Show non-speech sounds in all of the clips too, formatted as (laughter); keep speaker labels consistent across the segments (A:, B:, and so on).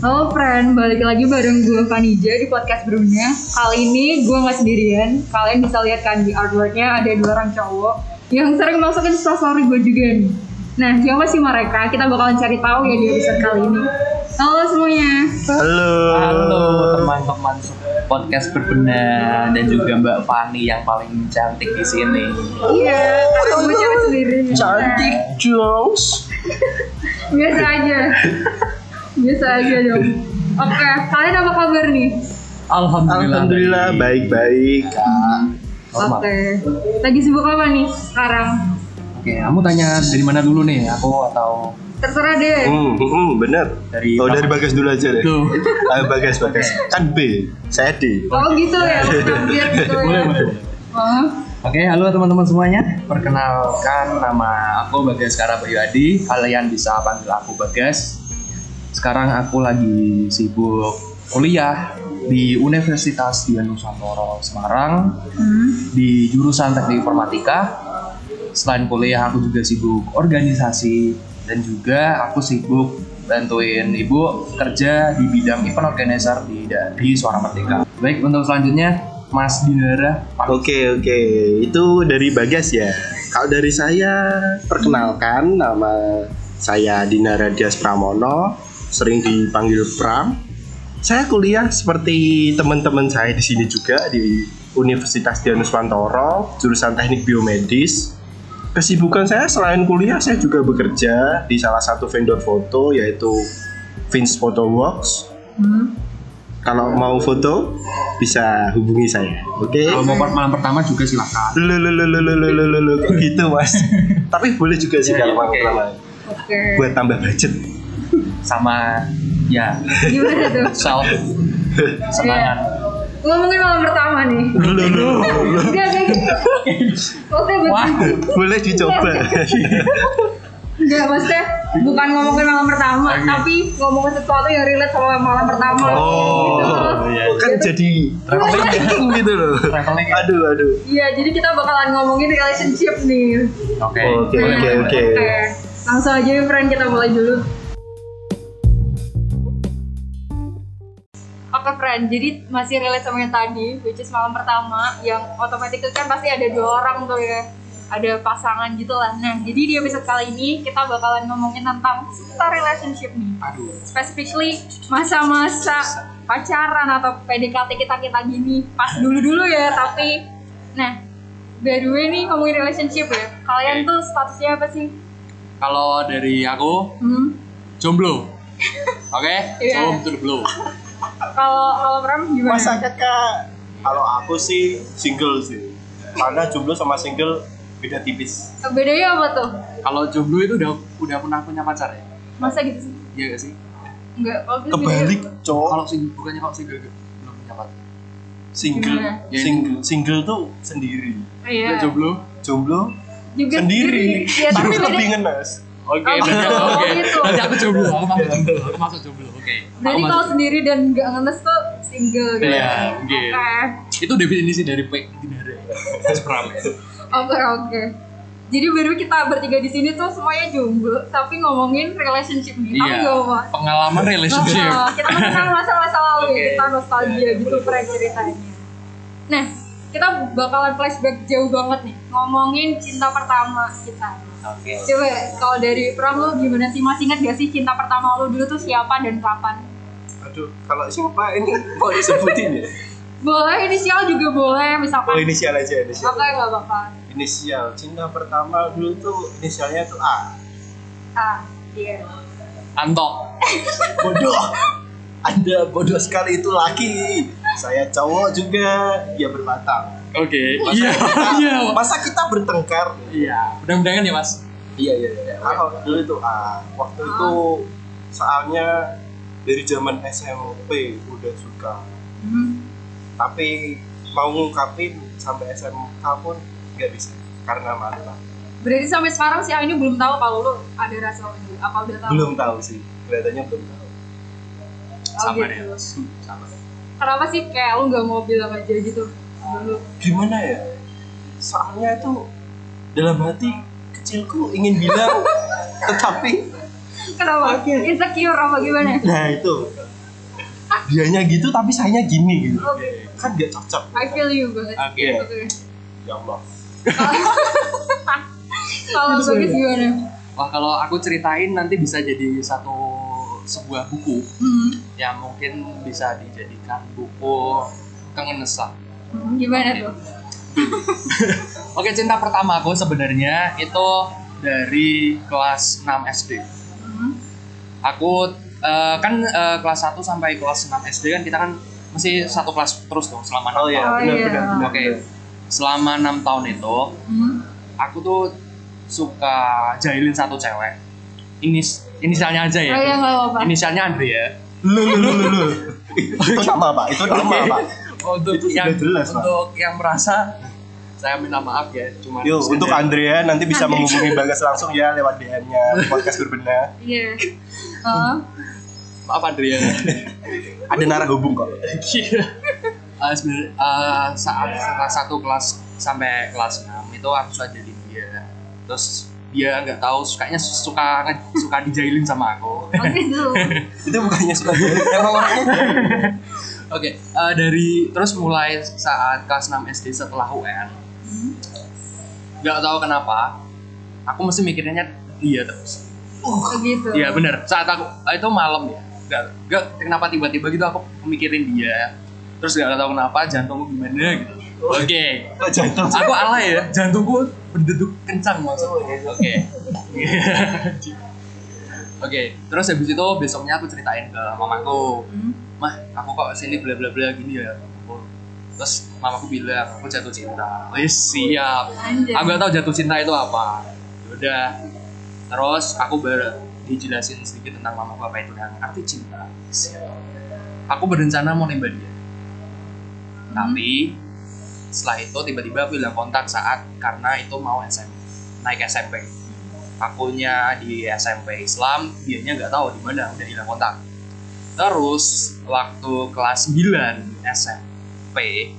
A: Halo friend, balik lagi bareng gue Vanija di podcast Brunya Kali ini gue gak sendirian Kalian bisa lihat kan di artworknya ada dua orang cowok Yang sering masuk ke instastory gue juga nih Nah siapa sih mereka? Kita bakalan cari tahu ya di episode kali ini Halo semuanya
B: Halo.
C: Halo teman-teman podcast berbenah dan juga Mbak Fani yang paling cantik di sini.
A: Iya, karena gue cewek sendiri
B: Cantik Jules.
A: Nah, Biasa aja Biasa aja dong Oke, kalian apa kabar nih?
C: Alhamdulillah.
B: Alhamdulillah baik-baik.
C: Normal.
A: Oke Lagi sibuk apa nih sekarang?
C: Oke, kamu tanya dari mana dulu nih? Aku atau
A: Terserah deh
B: Hmm, hmm, hmm, bener.
C: Dari
B: oh dari Bagas dulu aja deh.
C: Tuh.
B: Ah, bagas Bagas. Kan B, saya D.
A: Oh gitu
B: (laughs)
A: ya, biar gitu ya.
C: Boleh, boleh.
A: Oh,
C: Oke, halo teman-teman semuanya. Perkenalkan nama aku Bagas Kara Bayu Adi. Kalian bisa panggil aku Bagas. Sekarang aku lagi sibuk kuliah di Universitas Dianusantoro Semarang
A: hmm.
C: di jurusan teknik informatika. Selain kuliah aku juga sibuk organisasi dan juga aku sibuk bantuin ibu kerja di bidang event organizer di di Suara Merdeka. Baik untuk selanjutnya Mas Dinara.
B: Oke oke, itu dari Bagas ya. Kalau dari saya, perkenalkan nama saya Dina Radias Pramono, sering dipanggil Pram. Saya kuliah seperti teman-teman saya di sini juga di Universitas Dianus Wantoro, jurusan Teknik Biomedis. Kesibukan saya selain kuliah, saya juga bekerja di salah satu vendor foto yaitu Vince Photo Works.
A: hmm.
B: Kalau mau foto bisa hubungi saya. Oke.
C: Kalau mau part malam pertama juga silakan.
B: lu lu lu lu lu lu lu lu lu kok gitu
C: (laughs)
B: mas tapi boleh juga sih
C: Iya,
B: kalau
C: iya,
B: mau
C: oke.
B: lama.
A: Oke.
B: buat tambah budget
C: Sama ya
A: Gimana tuh?
C: self
A: Iya.
C: semangat.
A: Lo mungkin malam pertama nih.
B: lu lu lu lu.
A: Enggak kayak gitu. Oke,
C: Wah,
A: betul.
B: boleh
C: (laughs)
B: dicoba
A: Enggak, maksudnya bukan ngomongin malam pertama, tapi ngomongin sesuatu yang relate sama malam pertama.
B: oh
A: Gitu.
C: iya.
B: kan jadi traveling gitu loh
C: traveling ya?
B: aduh aduh
A: Iya, jadi kita bakalan ngomongin relationship nih.
C: Oke.
B: Oke,
C: boleh,
A: Nah,
B: oke,
C: boleh.
B: oke.
A: Langsung aja ya, friend kita mulai dulu. Oke, friend. Jadi masih relate sama yang tadi, which is malam pertama yang otomatis kan pasti ada dua orang tuh ya. Ada pasangan gitu lah. Nah, jadi di episode kali ini kita bakalan ngomongin tentang seputar relationship nih.
C: Aduh.
A: Specifically masa-masa pacaran atau PDKT kita-kita gini. Pas dulu-dulu ya, tapi nah, by the way nih ngomongin relationship ya. Kalian
C: Oke.
A: tuh statusnya apa sih?
C: Kalau dari aku
A: Hmm.
C: jomblo. Oke,
A: Iya.
C: Jomblo to the blue.
A: Kalau kalau Pram gimana?
B: kakak kalau aku sih single sih karena jomblo sama single beda tipis
A: Bedanya apa tuh?
C: Kalau jomblo itu udah udah pernah punya pacar ya?
A: Masa gitu sih?
C: Iya gak sih?
A: Enggak, kalau gitu
B: kebalik
A: bedanya-
B: cowok
C: Kalau sing bukannya kalau single gitu, belum punya pacar.
B: single
A: Gimana?
B: single single tuh sendiri
A: Iya.
C: Kalau jomblo.
B: jomblo
A: Juga
B: sendiri
A: Iya, tapi
B: tapi
A: bedanya.
B: kebingan mas
C: Oke,
A: Oh,
C: udah,
A: gitu,
C: oke.
A: oh, gitu. Iya.
C: Nanti aku jomblo, aku masuk jomblo, aku masuk jomblo. Oke.
A: Jadi
C: Aku masuk
A: kalau
C: jomblo.
A: sendiri dan nggak ngenes tuh single gitu.
C: Iya,
A: Oke.
C: mungkin. itu definisi dari P Dinara. Mas Pram. ya.
A: Oke, oke. Jadi baru kita bertiga di sini tuh semuanya jomblo, tapi ngomongin relationship nih. Tapi
C: Iya.
A: nggak apa.
C: Pengalaman relationship.
A: Nah, kita mengenang masa-masa lalu ya,
C: Oke.
A: kita nostalgia gitu Frank ceritanya. Nah, kita bakalan flashback jauh banget nih ngomongin cinta pertama kita.
C: Oke.
A: Coba kalau dari Pram lu gimana sih? Masih ingat gak sih cinta pertama lu dulu tuh siapa dan kapan?
B: Aduh, kalau siapa ini (laughs) mau disebutin ya?
A: Boleh inisial juga boleh
B: Oh,
A: misalkan.
B: inisial aja, inisial.
A: Oke nggak apa-apa.
B: Inisial. Cinta pertama dulu tuh inisialnya tuh A.
A: Ah, iya.
C: Anto.
B: Bodoh. Anda bodoh sekali itu laki. Saya cowok juga, dia berbatang.
C: Oke. Iya. Iya.
B: Masa kita bertengkar?
C: Iya. Mudah-mudahan ya, Mas.
B: Iya, iya, iya. Kalau dulu itu A. Waktu itu soalnya dari zaman SMP udah suka.
A: Hmm.
B: Tapi mau ngungkapin sampai SMK pun nggak bisa karena malu.
A: Berarti sampai sekarang sih ini belum tahu kalau lu ada rasa itu. Apa udah tahu?
B: belum tahu sih kelihatannya belum tahu
A: Oh,
C: Sabar ya.
A: gitu.
C: Sabar.
A: Kenapa sih kayak lu nggak mau bilang aja gitu dulu?
B: gimana ya soalnya itu dalam hati kecilku ingin bilang tetapi
A: Kenapa? Insecure apa gimana?
B: nah itu
D: dianya gitu tapi sayanya gini gitu
A: Oke.
D: kan gak cocok
A: I feel you banget.
C: Oke.
D: ya Allah
A: Kalau bagus gimana?
C: Wah kalau aku ceritain nanti bisa jadi satu sebuah buku
A: Hmm.
C: yang mungkin bisa dijadikan buku kengenesan.
A: Hmm, Gimana tuh?
C: Oke cinta pertama aku sebenarnya itu dari kelas 6 SD.
A: Hmm.
C: Aku eh, kan eh, kelas 1 sampai kelas 6 SD kan kita kan masih satu kelas terus dong selama
D: oh
C: enam
D: ya
A: Oh,
D: benar
A: iya.
D: benar benar,
C: Oke. Selama enam tahun itu
A: Hmm.
C: aku tuh suka jahilin satu cewek. Ini inisialnya aja ya.
A: Oh iya nggak apa-apa.
C: Inisialnya Andre ya.
D: lu lu lu lu lu itu nama pak itu nama
C: Oke.
D: pak
C: Untuk
D: Itu
C: yang
D: sudah jelas, Pak.
C: untuk yang merasa saya minta maaf ya, cuma
D: Yo, untuk Andrea nanti bisa menghubungi Bagas langsung ya lewat DM-nya podcast berbenah.
A: Iya. Oh.
C: maaf Andre ya.
D: Ada narah hubung kok.
C: Gila. Eh, sebenar- eh, saat kelas satu kelas sampai kelas 6 itu aku suka jadi dia. Terus dia nggak tahu sukanya suka suka dijailin sama aku. (laughs)
A: Oke tuh.
D: Itu bukannya suka jadi emang orangnya
C: Oke, eh, dari terus mulai saat kelas 6 SD setelah UN, nggak tahu kenapa, aku mesti mikirnya dia terus.
A: Begitu.
C: Iya bener, saat aku eh, itu malam ya, nggak nggak kenapa tiba-tiba gitu aku mikirin dia, terus nggak tahu kenapa jantungku gimana gitu. Oke,
D: kok jantung sih?
C: aku alay ya, Oh, iya, jantungku berdetak kencang maksudnya. Oke. Oke, terus habis itu besoknya aku ceritain ke mamaku
A: Hmm.
C: mah aku kok sini bla bla bla gini ya terus mamaku bilang aku jatuh cinta wes siap
A: Anjay.
C: aku gak tahu jatuh cinta itu apa Ya udah terus aku baru dijelasin sedikit tentang mamaku apa itu dan arti cinta siap aku berencana mau nembak dia tapi setelah itu tiba-tiba aku hilang kontak saat karena itu mau SMP naik SMP akunya di SMP Islam dianya nggak tahu di mana udah hilang kontak Terus waktu kelas 9 SMP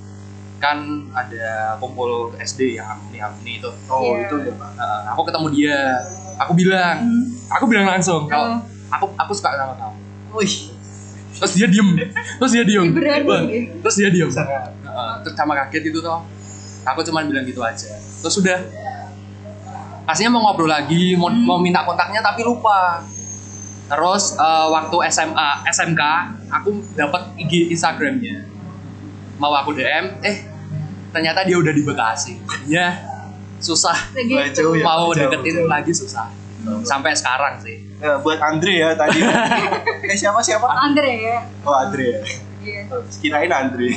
C: kan ada kumpul SD yang alumni alumni itu.
D: Oh,
A: Iya.
D: itu ya, Pak.
C: Nah, aku ketemu dia, aku bilang,
A: Hmm.
C: aku bilang
A: Oh.
C: langsung kalau aku aku suka sama kamu.
D: Wih,
C: Terus dia diem, terus dia diem,
A: Berani.
C: Bang. terus dia diem.
D: sangat.
C: Heeh, terus sama kaget gitu toh aku cuman bilang gitu aja terus sudah pastinya mau ngobrol lagi mau, mau minta kontaknya tapi lupa terus eh, waktu SMA SMK aku dapat IG Instagramnya mau aku DM eh ternyata dia udah di Bekasi ya susah
A: Begitu.
D: Wah, jauh ya.
C: mau
D: jauh, jauh.
C: deketin lagi susah sampai sekarang sih
D: Nah, buat Andre ya tadi. eh siapa siapa?
A: Andre ya.
D: Oh Andre ya.
A: Iya.
D: Kirain Andre.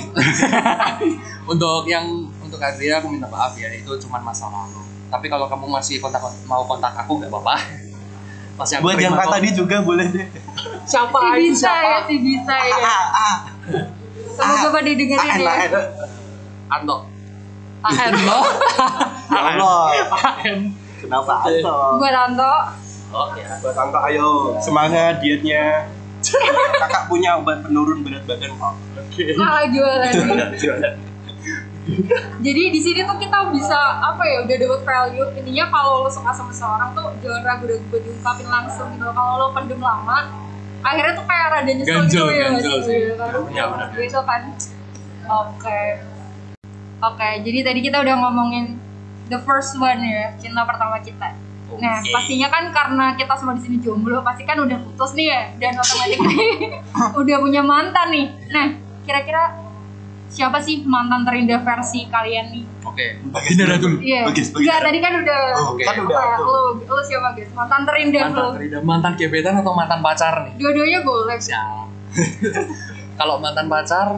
C: untuk yang untuk Adria aku minta maaf ya itu cuma masa lalu tapi kalau kamu masih kontak mau kontak aku nggak apa-apa (laughs) masih aku
D: Buat yang
C: terima
D: kata
C: kok.
D: tadi juga boleh
C: (laughs)
D: deh.
C: siapa
A: Si
C: Ain,
A: Gita
C: siapa
A: ya, si Gita ya. Semoga pada dengerin
D: Ah,
A: ya. Ah,
D: enak, enak.
C: Anto Aen lo
D: Ya Allah.
C: Aen
D: Kenapa Anto?
A: Gue Ranto.
C: oke
D: Buat Anto ayo semangat dietnya. Kakak punya obat penurun berat badan kok.
C: Iya.
A: Malah jualan. nih. Jadi di sini tuh kita bisa apa ya udah dapat value. Intinya kalau lo suka sama seseorang tuh jangan ragu-ragu buat diungkapin langsung gitu. Kalau lo pendem lama, akhirnya tuh kayak rada nyesel
C: Ganjel,
A: gitu ya.
C: ganjel
A: Mas.
C: sih.
A: Iya, kan?
C: Iya, benar.
A: Gitu kan. Oke. Oke, jadi tadi kita udah ngomongin the first one ya, cinta pertama kita. Nah,
C: Oke.
A: pastinya kan karena kita semua di sini jomblo, pasti kan udah putus nih ya, dan otomatis (laughs) udah punya mantan nih. Nah, kira-kira siapa sih mantan terindah versi kalian nih?
C: (laughs) oke Dinara dulu
A: Iya.
D: Bagus, bagus.
A: Enggak, tadi kan udah
D: Oh,
C: Oke.
D: kan udah
A: apa,
D: aku.
A: lu, lu siapa guys? Mantan terindah
C: mantan
A: lu.
C: Rida mantan gebetan atau mantan pacar nih
A: Dua-duanya boleh.
C: siapa (laughs) kalau mantan pacar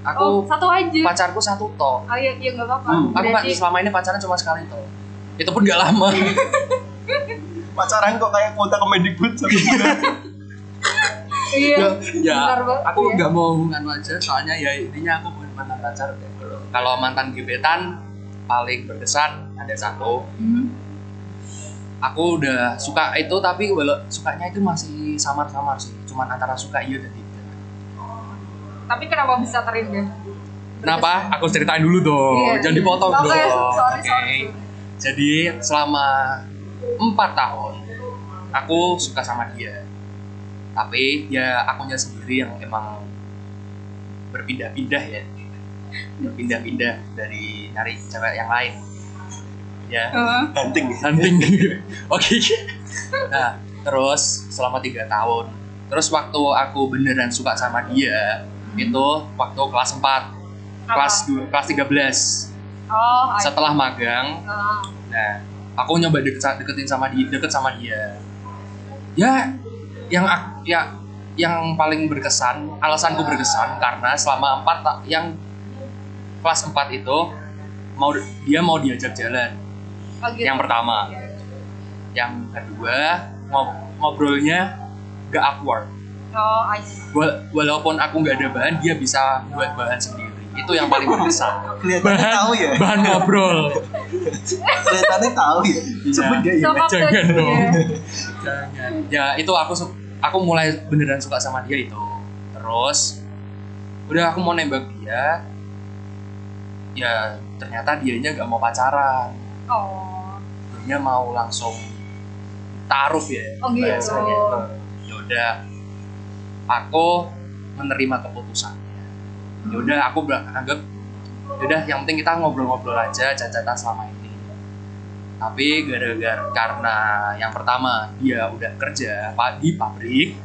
A: Oh,
C: aku
A: satu aja.
C: pacarku satu toh
A: Oh iya, iya enggak apa-apa.
D: Hmm,
C: aku nggak-
A: Berarti
C: selama ini pacaran cuma sekali toh itu pun gak lama
D: (laughs) Pacaran kok kayak kuota Kemendikbud satu bulan.
A: iya.
C: ya
A: Bentar, Bang.
C: aku
A: Iya.
C: nggak mau hubungan wajar soalnya ya intinya aku bukan mantan pacar kalau mantan gebetan paling berkesan ada satu
A: Hmm.
C: aku udah suka itu tapi walau sukanya itu masih samar-samar sih cuman antara suka iya dan tidak
A: Tapi kenapa bisa terindah?
C: kenapa aku ceritain dulu dong
A: Iya.
C: jangan dipotong
A: Oke,
C: dong
A: sorry,
C: Oke.
A: sorry.
C: jadi selama empat tahun aku suka sama dia tapi ya akunya sendiri yang emang berpindah-pindah ya berpindah-pindah dari nyari cewek yang lain ya
A: Oh,
D: hunting
C: hunting (laughs) oke nah terus selama tiga tahun terus waktu aku beneran suka sama dia itu waktu kelas 4 kelas du- kelas 13
A: oh I-
C: setelah magang
A: oh.
C: nah aku nyoba deket, deketin sama dia deket sama dia ya yang ak- ya yang paling berkesan alasanku berkesan karena selama empat ta- yang kelas 4 itu mau dia mau diajak jalan
A: Oh, gitu.
C: yang pertama yang kedua ngob- ngobrolnya gak awkward
A: oh I see.
C: Wa- walaupun aku nggak ada bahan dia bisa buat bahan sendiri itu yang paling
B: (laughs)
C: berkesan
B: Kelihatannya tahu ya.
C: bahan ngobrol
B: Kelihatannya tahu ya. Cuma dia
A: So,
B: ingat.
A: apa tuh?
C: jangan dong.
A: Iya.
C: jangan ya itu aku su- aku mulai beneran suka sama dia itu terus udah aku mau nembak dia ya ternyata dianya nggak mau pacaran
A: oh
C: dia mau langsung taruh ya
A: Oh, gitu.
C: bahasanya. ya udah aku menerima keputusan ya
A: Hmm.
C: udah aku ber- anggap ya udah yang penting kita ngobrol-ngobrol aja cacatan selama ini tapi gara-gara karena yang pertama dia udah kerja pa- di pabrik (laughs)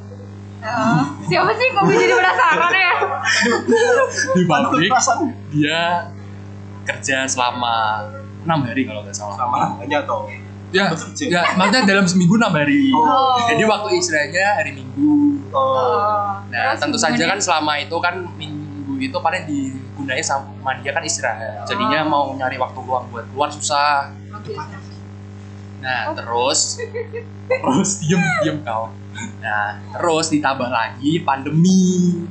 A: Oh. siapa sih kok gue jadi penasaran ya
C: di pabrik
B: Perasaan
C: dia kerja selama enam hari kalau nggak salah
B: sama aja toh.
C: ya,
B: Bekerja.
C: ya maksudnya dalam seminggu enam hari
A: Oh.
C: (laughs) jadi waktu istilahnya hari minggu
B: Oh,
C: Nah,
A: Terus
C: tentu saja kan
A: hubungannya-
C: selama itu kan minggu itu paling digunain sama dia kan istirahat. Jadinya
A: Oh.
C: mau nyari waktu luang buat keluar susah.
A: Oke.
C: Nah, terus terus diem diem kau. Nah, terus ditambah lagi pandemi.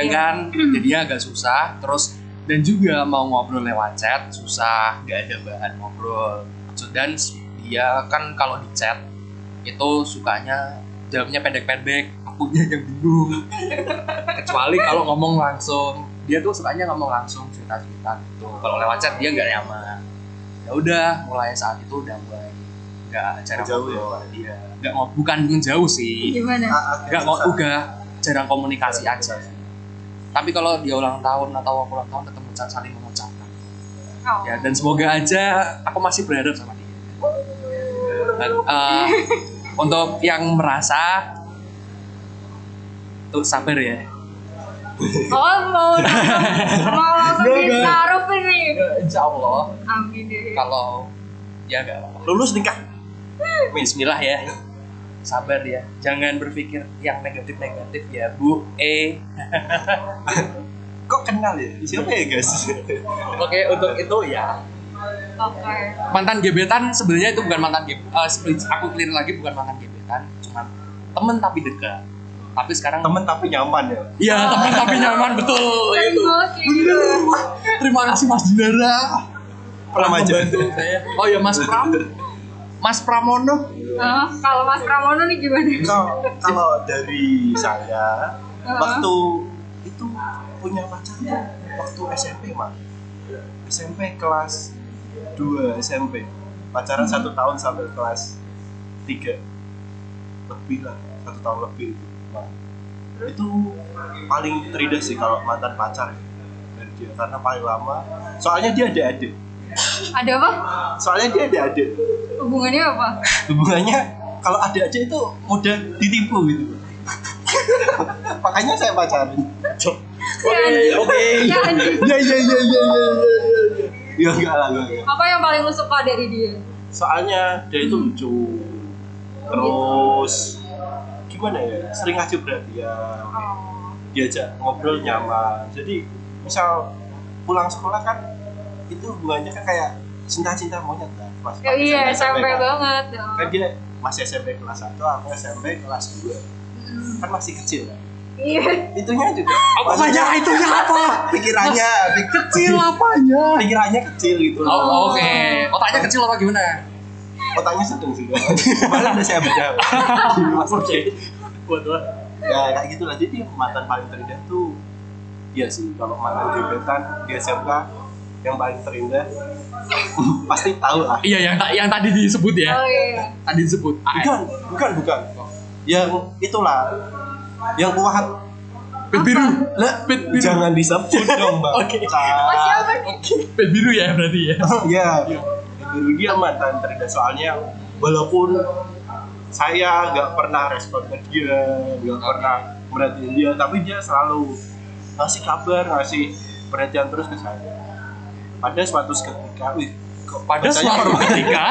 A: Iya.
C: kan? Jadinya agak susah. Terus dan juga mau ngobrol lewat chat susah, nggak ada bahan ngobrol. Dan dia kan kalau di chat itu sukanya jawabnya pendek-pendek, akunya yang bingung. Kecuali kalau ngomong langsung, dia tuh sukanya ngomong langsung cerita-cerita gitu. Kalau lewat chat dia nggak nyaman. Ya udah, mulai saat itu udah mulai nggak jarang
B: Jauh ya?
C: ngobrol. Iya, nggak mau bukan menjauh sih
A: gimana
C: nggak mau udah jarang komunikasi aja tapi kalau dia ulang tahun atau aku ulang tahun tetap mengucap- saling mengucapkan
A: oh.
C: ya dan semoga aja aku masih berharap sama dia
A: Oh.
C: Dan, eh, untuk yang merasa tuh sabar ya
A: oh mau
C: (laughs)
A: mau langsung
C: Enggak, enggak.
A: ditaruh nih
C: insya Allah
A: amin deh
C: kalau ya nggak apa-apa
B: lulus nikah.
C: Bismillah ya sabar ya jangan berpikir yang negatif-negatif ya Bu E
B: Kok kenal ya? Siapa ya (laughs) guys?
C: oke untuk itu ya
A: oke
C: mantan gebetan sebenarnya itu bukan mantan gebetan aku clear lagi bukan mantan gebetan cuman temen tapi dekat tapi sekarang
B: Temen tapi nyaman ya.
C: iya temen tapi nyaman betul
A: Keren
C: Oh, itu
A: banget kayak gitu
C: terima kasih Mas Dinara
B: Pram aja.
C: membantu saya oh ya Mas Pram Mas Pramono
A: Oh, kalau Mas Pramono nih gimana
B: Kalau kalau dari saya
A: Heeh.
B: waktu itu punya pacar tuh waktu SMP mah SMP kelas 2 SMP pacaran satu tahun sampai kelas 3 lebih lah satu tahun lebih itu Nah, itu paling teridas sih kalau mantan pacar ya, dari dia karena paling lama soalnya dia ada adik
A: ada apa
B: soalnya dia ada adik
A: hubungannya apa
B: hubungannya kalau adik-adik itu mudah ditipu gitu (laughs) makanya saya pacarin
A: Ya,
B: oke
A: ya, anjing.
B: ya ya ya ya ya ya ya enggak lah enggak, enggak.
A: apa yang paling lu suka dari dia
B: soalnya dia itu lucu terus gimana ya sering ngasih perhatian
A: oh
B: diajak ngobrol nyaman jadi misal pulang sekolah kan itu hubungannya kan kayak cinta-cinta monyet lah pas
A: Ya, iya SMP
B: kan.
A: banget
B: kan dia masih SMP kelas 1 aku SMP kelas 2 kan masih kecil kan?
A: iya
B: itunya juga
C: Apa
B: Maksudnya
C: saja itunya apa?
B: pikirannya pik-
C: kecil apanya
B: pikirannya kecil gitu
C: oh, oke otaknya kecil apa gimana
B: otaknya sedang sih malah udah saya bedah
C: (laughs)
B: oke
C: buat
B: ya kayak gitu lah jadi mantan paling terindah tuh iya sih kalau mantan gebetan di SMK yang paling terindah (laughs) pasti tahu lah
C: iya yang ta- yang tadi disebut ya
A: oh iya
C: tadi disebut Ah, eh,
B: bukan bukan bukan yang itulah yang Ya, kuat
C: Pet biru. Lah, pet biru.
B: Jangan disebut dong, Bang.
C: Oke.
A: Oh,
B: Cak.
C: Ah.
A: siapa nih?
C: Pet biru ya berarti ya.
B: Ya, dulu dia mantan Trida soalnya walaupun saya nggak pernah respon ke dia, nggak pernah merhatiin dia, tapi dia selalu ngasih kabar, ngasih perhatian terus ke saya. Pada suatu ketika, wih, kok
C: Pada
B: bacanya
C: suatu
B: formal?
C: ketika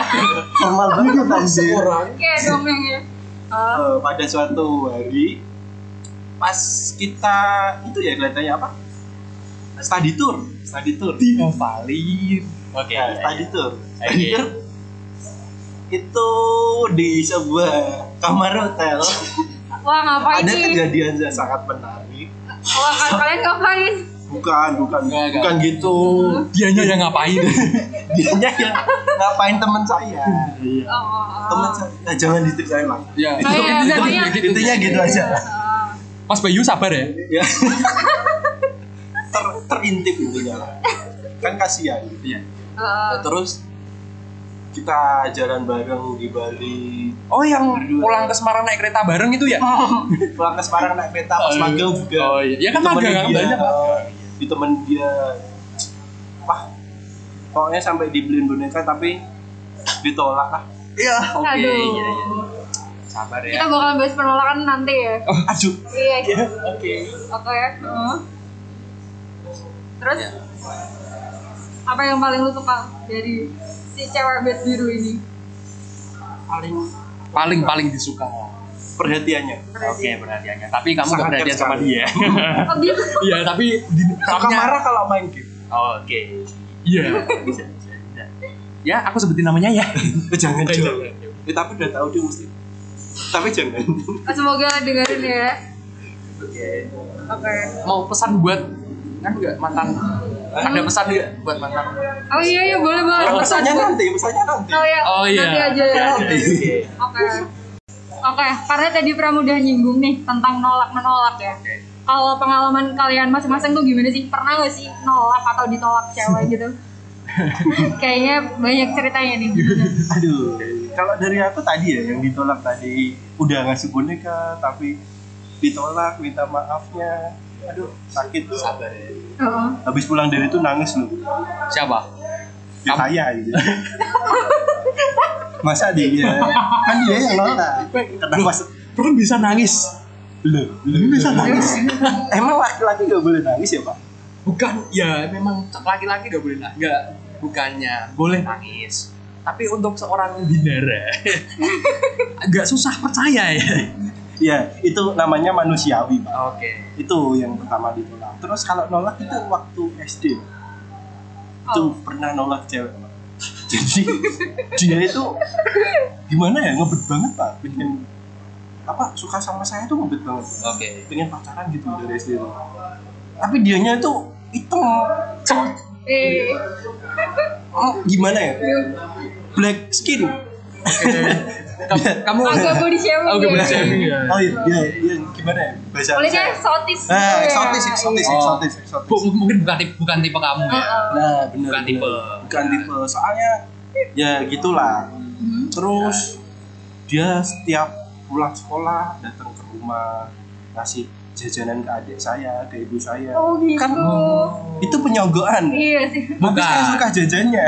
B: formal banget anjir.
A: Oke dong yang ya. Ah,
B: Eh, pada suatu hari pas kita itu ya kelihatannya apa? Study tour, study tour.
C: Iya. dihafalin. Oke. Iya.
B: Ya, study tour.
C: Oke.
B: Study tour itu di sebuah kamar hotel.
A: Wah ngapain
B: Ada
A: nih?
B: kejadian yang sangat menarik.
A: Wah kalian ngapain?
B: Bukan, bukan,
C: Enggak, enggak.
B: bukan gitu.
A: (laughs)
C: Dianya yang
B: (laughs)
C: ngapain?
B: Dianya yang ngapain teman saya?
A: Oh, oh, oh.
B: Teman saya, nah, jangan diceritain lah.
A: Oh, iya,
C: ya. Itu- itu-
A: pokoknya-
C: itu- itu-
B: Intinya gitu aja.
A: Ah.
C: Mas Bayu sabar ya.
A: (laughs)
B: Ya. Ter, terintip intinya lah. Kan kasihan.
C: Iya.
A: Ah.
B: Nah, terus kita jalan bareng di Bali
C: Oh, yang pulang ke Semarang naik kereta bareng itu
B: (laughs)
C: ya?
B: pulang ke Semarang naik kereta pas
C: Oh,
B: magang juga
C: oh, iya. Ya kan
B: Ditemenin
C: magang, kan
B: dia,
C: banyak
B: eh, di temen dia wah pokoknya sampai dibeliin boneka tapi ditolak lah
C: Iya. Oke.
A: Aduh.
C: iya, iya. Sabar
A: Kita
C: ya. Oh,
A: bakal bahas penolakan nanti ya.
B: aduh
A: Iya. gitu.
B: oke
A: Oke. heeh. Terus apa yang paling lu suka dari si cewek bed biru ini?
B: paling
C: Paling paling disuka.
B: perhatiannya
C: Oke, perhatiannya. Tapi kamu
B: Sangat
C: gak perhatian
B: care
C: sama
B: sekali.
C: dia. (laughs)
A: Oh gitu.
C: Iya, tapi di
B: kakak
C: soalnya-
B: marah kalau main game
C: Oke. Iya. (laughs) Bisa, bisa, bisa. Ya, aku sebutin namanya ya.
B: Eh, jangan
C: Eh,
B: dong
C: jangan.
B: Eh, tapi udah tahu dia mesti tapi jangan
A: Oh, Semoga dengerin ya. Oke.
C: (laughs) Mau pesan buat kan nggak mantan? Ada pesan nggak buat mantan?
A: Oh iya iya boleh boleh.
B: Kan pesannya nanti pesannya nanti
A: Oh iya.
C: Oh iya.
A: Nanti aja ya.
C: Nanti aja.
B: Nanti.
A: Oke. Oke, karena tadi Pram udah nyinggung nih tentang nolak menolak ya. Kalau pengalaman kalian masing-masing tuh gimana sih? Pernah gak sih nolak atau ditolak cewek gitu? Kayaknya banyak ceritanya nih. gimana?
B: Aduh, kalau dari aku tadi ya yang ditolak tadi udah ngasih boneka tapi ditolak minta maafnya. Aduh, sakit tuh. Sabar ya.
A: Oh.
B: Habis pulang dari itu nangis lu.
C: Siapa?
B: Ya,
C: Kamu-
B: saya gitu. Masa dia kan dia yang nolak. Kenapa se-
C: Pernah bisa nangis?
B: lu, lu bisa nangis? Emang laki-laki gak boleh nangis ya, Pak?
C: Bukan, ya memang laki-laki nggak boleh nangis. Nggak, bukannya boleh nangis. Tapi untuk seorang (laughs) binara, agak susah percaya ya.
B: Ya, itu namanya manusiawi, Pak.
C: Oke.
B: Itu yang pertama ditolak. Terus kalau nolak itu waktu SD. itu
A: Oh.
B: pernah nolak cewek Pak. jadi dia itu gimana ya ngebet banget pak pengen apa suka sama saya tuh ngebet banget
C: Oke.
B: pengen pacaran gitu dari SD itu tapi dianya itu hitam cem-
A: Eh,
B: oh, gimana ya black skin
C: Kamu- Kamu
A: agak body shaming.
C: Agak
A: ya.
C: body shaming ya.
B: oh iya, iya, iya, gimana ya bahasa
A: Boleh kan eksotis.
B: nah
A: gitu ya.
B: eksotis eksotis
C: Oh.
B: eksotis eksotis
C: Bu- mungkin bukan tipe, bukan tipe kamu ya.
B: nah bener
C: Bukan tipe.
B: bukan tipe soalnya ya gitulah
C: Iya.
A: Hmm.
C: Ya,
B: Terus dia setiap pulang sekolah datang ke rumah ngasih jajanan ke adik saya, ke ibu saya.
A: Oh gitu.
B: Kan itu penyonggoan.
A: Iya sih.
B: Tapi saya
C: Bukan.
B: suka
C: (laughs)
B: jajannya.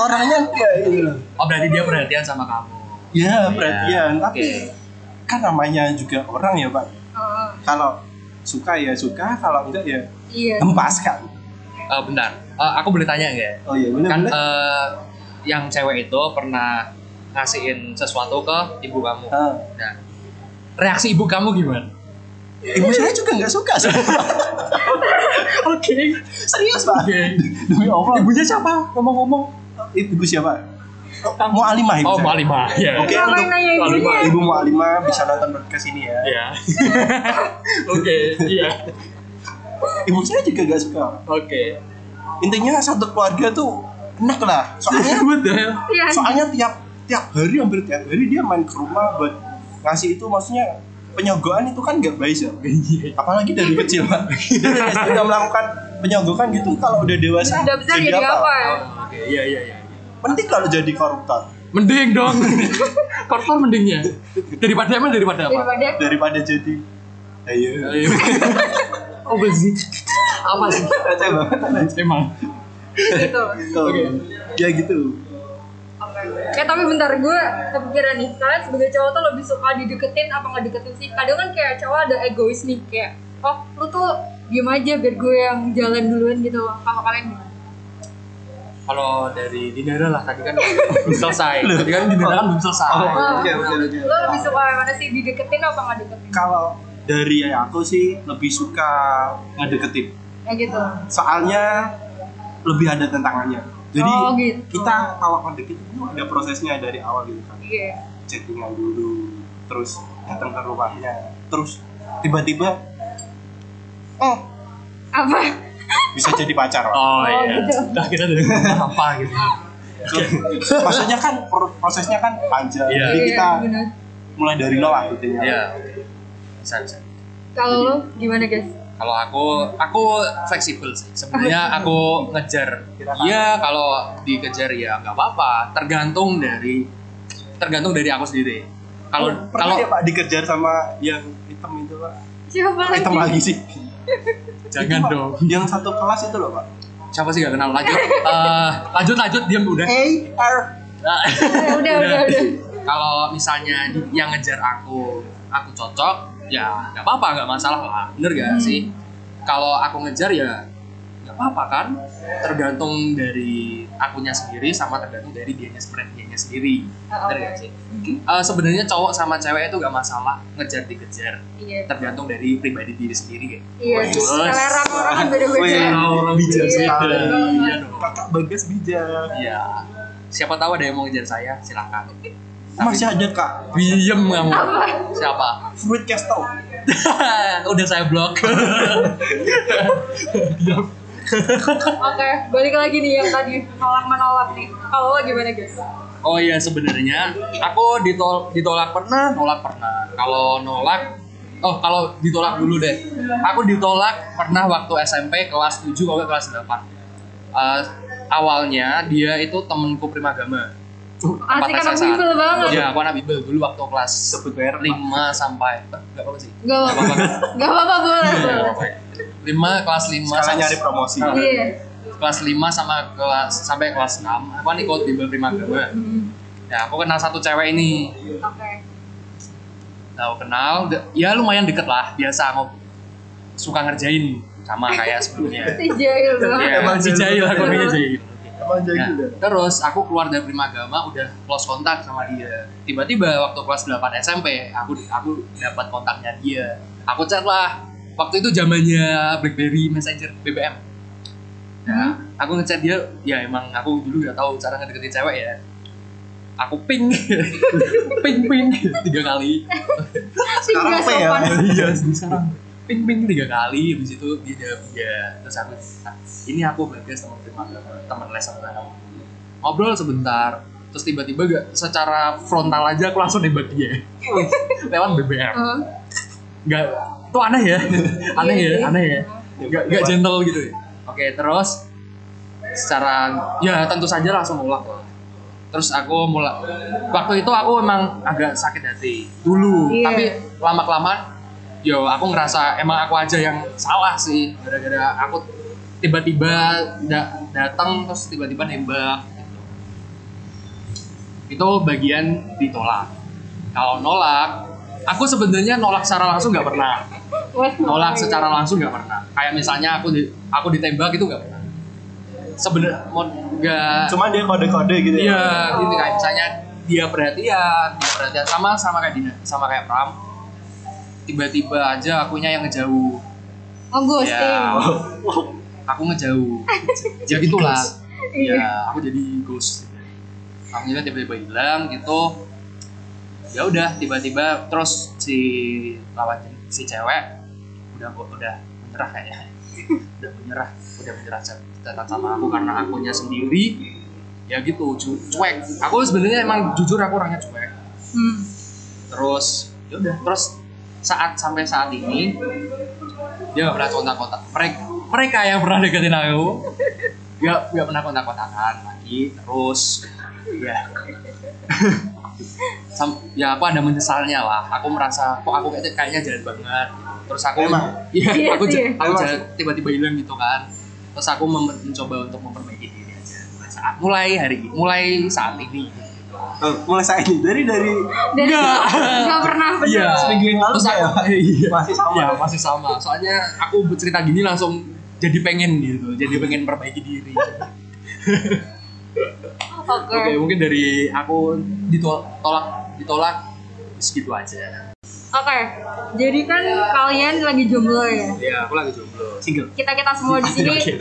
B: Orangnya enggak gitu loh.
C: Oh berarti dia perhatian sama kamu.
B: Ya perhatian, tapi
C: Iya, Oke.
B: kan namanya juga orang ya pak.
A: Oh,
B: Kalau suka ya suka, kalau enggak ya
A: iya.
B: hempaskan.
C: Eh, bentar, Eh, aku boleh tanya nggak?
B: Oh iya benar
C: Kan
B: benar.
C: eh, yang cewek itu pernah ngasihin sesuatu ke ibu kamu.
B: Ah.
C: Nah, reaksi ibu kamu gimana?
B: Ibu saya juga nggak suka.
C: (laughs) Oke.
B: Serius pak?
C: Oke.
A: Iya,
B: Demi Allah.
C: Ibunya siapa? Ngomong-ngomong.
B: eh, Ibu siapa? Mau alimah ibu
C: Oh,
B: saya.
C: Malima. Iya.
B: Oke
A: Ngapain
B: untuk
A: nanya ya.
B: Ibu
A: ibunya?
B: Ibu Mualimah bisa nonton podcast ini ya.
C: Iya. (laughs) Oke, iya.
B: Ibu saya juga gak suka.
C: Oke.
B: Intinya satu keluarga tuh enak lah. Soalnya
A: (laughs) Iya.
B: soalnya tiap tiap hari hampir tiap hari dia main ke rumah buat ngasih itu maksudnya penyogokan itu kan gak baik ya. Apalagi dari kecil Pak. Dari SD udah melakukan penyogokan gitu kalau udah dewasa
A: Udah besar jadi apa ya?
C: Oke, iya iya iya.
B: Penting kalau jadi koruptor
C: Mending (laughs) dong. Korpor mendingnya. Daripada emang daripada apa? Iya.
A: Daripada
B: daripada jadi ayo (laughs)
C: (laughs) apa sih? Apa sih?
B: Receh banget
C: Emang.
A: gitu
B: Gitu. dia gitu
A: Oke. Eh tapi bentar gue kepikiran nih kalian sebagai cowok tuh lebih suka dideketin apa nggak deketin sih kadang kan kayak cowok ada egois nih kayak oh lu tuh diem aja biar gue yang jalan duluan gitu kalau kalian gimana?
C: Kalau dari Dinara lah tadi kan belum selesai. Tadi kan Dinara kan belum selesai.
A: Oh,
B: iya, betul, betul.
A: Lo lebih suka yang mana sih dideketin apa nggak deketin?
B: kalau dari ya aku sih lebih suka ngedeketin
A: Ya gitu.
B: soalnya lebih ada tantangannya jadi
A: Oh, gitu.
B: kita kalau ngedeketin itu ada prosesnya dari awal gitu kan
A: Iya.
B: chattingan dulu terus datang ke rumahnya terus tiba-tiba oh
A: Apa?
B: bisa jadi pacar Pak.
C: Oh,
A: Oh,
C: iya.
A: gitu.
C: Nah, kita dari apa gitu.
B: (laughs) maksudnya kan pro- prosesnya kan panjang
C: Iya.
B: jadi
A: Iya,
B: kita
A: bener.
B: mulai dari nol akhirnya
C: Iya. Bisa bisa.
A: Kalau lo gimana guys?
C: Kalau aku, aku fleksibel sih. Sebenarnya aku ngejar. Iya, kalau dikejar ya nggak apa-apa. Tergantung dari tergantung dari aku sendiri. Kalau
B: pernah
C: kalau
B: ya pak dikejar sama yang hitam itu pak
A: Siapa
B: Kok hitam
A: lagi?
B: lagi sih Itu,
C: jangan
B: Iya, Pak.
C: dong.
B: yang satu kelas itu loh pak
C: Siapa sih gak kenal? Lanjut, Eh, lanjut, lanjut. Diam udah.
B: A R
C: Nah,
A: (laughs) udah, udah, udah.
C: Kalau misalnya di- yang ngejar aku, aku cocok, ya nggak apa-apa, nggak masalah lah. Bener
A: Hmm.
C: gak sih? Kalau aku ngejar ya nggak apa-apa kan? Tergantung dari akunya sendiri sama tergantung dari dianya sendiri. Dianya sendiri.
A: Ah,
C: Bener
A: oke.
C: nggak sih? Eh, Sebenarnya cowok sama cewek itu nggak masalah ngejar dikejar.
A: Iya.
C: Tergantung dari pribadi diri sendiri kayak.
A: Iya.
C: Wes.
A: Selera orang kan beda-beda.
B: Wes.
C: orang
B: bijak sekali.
C: Iya dong.
B: kakak bagas bijak
C: Iya. Siapa tahu ada yang mau ngejar saya, silahkan.
B: masih ada kak
C: Diem kamu. Siapa?
B: fruit casto
C: (laughs) Udah saya blok.
A: Oke, balik lagi nih yang tadi nolak menolak nih. Kalau lo gimana guys?
C: oh iya sebenarnya aku ditol- ditolak pernah, nolak pernah. Kalau nolak Oh, kalau ditolak dulu deh. Aku ditolak pernah waktu SMP kelas 7 atau nggak kelas 8. Eh, awalnya dia itu temenku primagama. Tempat
A: Asik anak
C: SSA.
A: bimbel banget.
C: Iya, aku anak bimbel dulu waktu kelas
B: sebut merek
C: 5 sampai enggak apa sih.
A: Gak apa-apa. Gak apa-apa
C: Iya.
A: boleh. boleh.
C: 5 kelas 5
B: sekalian nyari promosi
A: Iya.
C: kelas 5 sama kelas sampai kelas 6 aku kan ikut di Primagama
A: Hmm,
C: ya aku kenal satu cewek ini
A: Oke.
C: nah, aku kenal d- ya lumayan deket lah biasa aku suka ngerjain sama kayak
A: (laughs)
C: sebelumnya Iya,
A: Si jahil
C: ya,
A: banget.
B: Emang
C: si jahil aku ini jahil
B: emang gitu ya?
C: Nah, terus aku keluar dari Primagama udah close kontak sama dia. Tiba-tiba waktu kelas 8 SMP aku aku dapat kontaknya dia. Aku chat lah. Waktu itu zamannya BlackBerry Messenger BBM.
A: Hmm?
C: Nah, aku ngechat dia, ya emang aku dulu gak tahu cara ngedeketin cewek ya. Aku ping, (laughs) ping, ping tiga kali.
A: Tiga
B: Sekarang apa ya?
A: sopan.
C: Iya, sekarang ping ping tiga kali habis itu dia jawab iya terus aku "Ah, ini aku bagas teman teman teman les sama kamu ngobrol sebentar terus tiba-tiba gak secara frontal aja aku langsung nembak dia lewat BBM
A: Heeh.
C: nggak itu aneh ya aneh ya
A: Iya, iya.
C: aneh ya nggak nggak gentle gitu ya oke terus secara ya tentu saja langsung nolak lah terus aku mulai waktu itu aku emang agak sakit hati dulu
A: Iya.
C: tapi lama kelamaan yo aku ngerasa emang aku aja yang salah sih gara-gara aku tiba-tiba da- datang terus tiba-tiba nembak gitu. itu bagian ditolak kalau nolak aku sebenarnya nolak secara langsung nggak pernah
A: Wes,
C: nolak
A: makanya.
C: secara langsung nggak pernah kayak misalnya aku di- aku ditembak itu nggak pernah sebenarnya mau nggak
B: cuma dia kode-kode gitu
C: Iya,
A: Oh.
C: gitu kayak misalnya dia perhatian, dia perhatian sama sama kayak Dina, sama kayak Pram. Tiba-tiba aja akunya yang ngejauh.
A: Oh ghosting.
C: Ya, aku ngejauh. ya gitulah.
A: Iya.
C: Ya, aku jadi ghost. Akhirnya tiba-tiba hilang gitu. Ya udah, tiba-tiba terus si lawan si cewek udah udah menyerah kayaknya. udah menyerah, udah menyerah catatan sama aku karena akunya sendiri ya gitu cu- cuek aku sebenarnya emang jujur aku orangnya cuek
A: Hmm.
C: terus ya udah terus saat sampai saat ini dia gak pernah kontak-kontak mereka mereka yang pernah deketin aku gak gak pernah kontak-kontakan lagi terus ya (laughs) Sam- ya aku ada menyesalnya lah aku merasa kok aku kayak- kayaknya jahat banget gitu. terus aku
B: Emang?
C: (laughs) Iya,
A: Iya
C: aku
A: sih.
C: ja- aku
B: Emang
C: ja- tiba-tiba hilang gitu kan terus aku mem- mencoba untuk memperbaiki diri aja saat mulai hari mulai saat ini
B: Eh, mulai saat ini dari dari
A: Dan
C: Enggak.
A: enggak pernah bener.
C: Iya.
B: seminggu yang lalu ya?
C: Terus
B: saya
C: (laughs) aku- iya.
B: masih sama
C: Iya, masih sama. Soalnya aku bercerita gini langsung jadi pengen gitu, jadi pengen perbaiki diri. Oke,
A: Oke.
C: mungkin dari aku ditolak ditolak segitu aja.
A: Oke. Jadi kan kalian lagi jomblo ya.
C: Ya, aku lagi jomblo.
B: single
A: Kita kita semua di sini
C: Oke.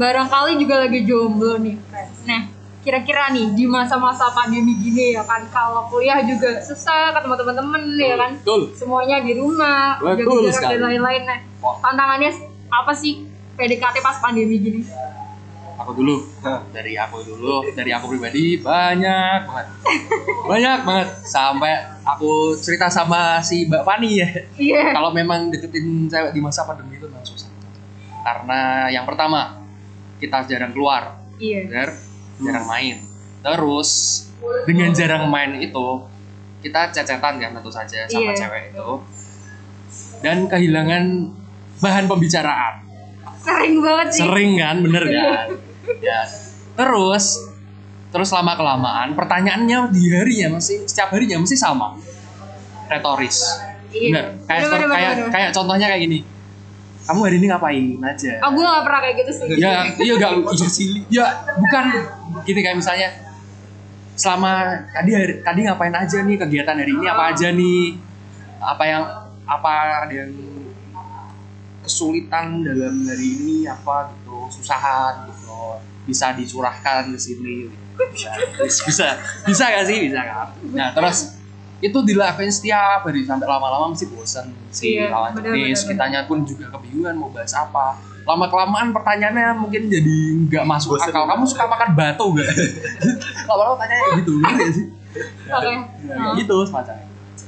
A: barangkali juga lagi jomblo nih. friends. Nah, kira-kira nih di masa-masa pandemi gini ya kan kalau kuliah juga susah ketemu teman-teman ya kan.
C: Betul.
A: Semuanya di rumah,
C: Betul
A: jaga jarak
C: sekali.
A: dan lain-lain. Nah, tantangannya apa sih PDKT pas pandemi gini?
C: Aku dulu.
B: Hah.
C: Dari aku dulu, dari aku pribadi banyak banget. Banyak banget sampai aku cerita sama si Mbak Fani ya.
A: Iya.
C: kalau memang deketin cewek di masa pandemi itu memang susah karena yang pertama kita jarang keluar
A: Iya.
C: bener jarang main terus dengan jarang main itu kita cecetan kan tentu saja sama
A: Iya.
C: cewek itu dan kehilangan bahan pembicaraan
A: Sering banget sih.
C: sering kan bener
A: Iya.
C: kan ya terus terus lama kelamaan pertanyaannya di harinya masih setiap harinya masih sama retoris Bener.
A: Iya.
C: Kayak
A: Bener, bener,
C: kayak
A: bener.
C: kayak contohnya kayak gini. Kamu hari ini ngapain aja?
A: Oh, gue gak pernah kayak gitu sih.
C: Ya, iya enggak iya sih. Ya, bukan gini kayak misalnya selama tadi hari- tadi ngapain aja nih kegiatan hari ini apa aja nih? Apa yang apa ada yang kesulitan dalam hari ini apa gitu, susahan gitu. loh. Bisa dicurahkan ke sini. gitu. Bisa, bisa, bisa gak sih? Bisa kan? Nah, terus itu dilakuin setiap hari sampai lama-lama mesti bosen si
A: Iya,
C: lawan
A: benar,
C: jenis
A: benar,
C: kitanya pun juga kebingungan mau bahas apa lama kelamaan pertanyaannya mungkin jadi nggak masuk
B: Bosen.
C: akal kamu suka makan batu gak (laughs) lama-lama tanya kayak gitu ngerti
B: ya?
C: nggak sih
A: Oke.
C: Ya,
A: Nah.
C: kayak gitu semacam itu.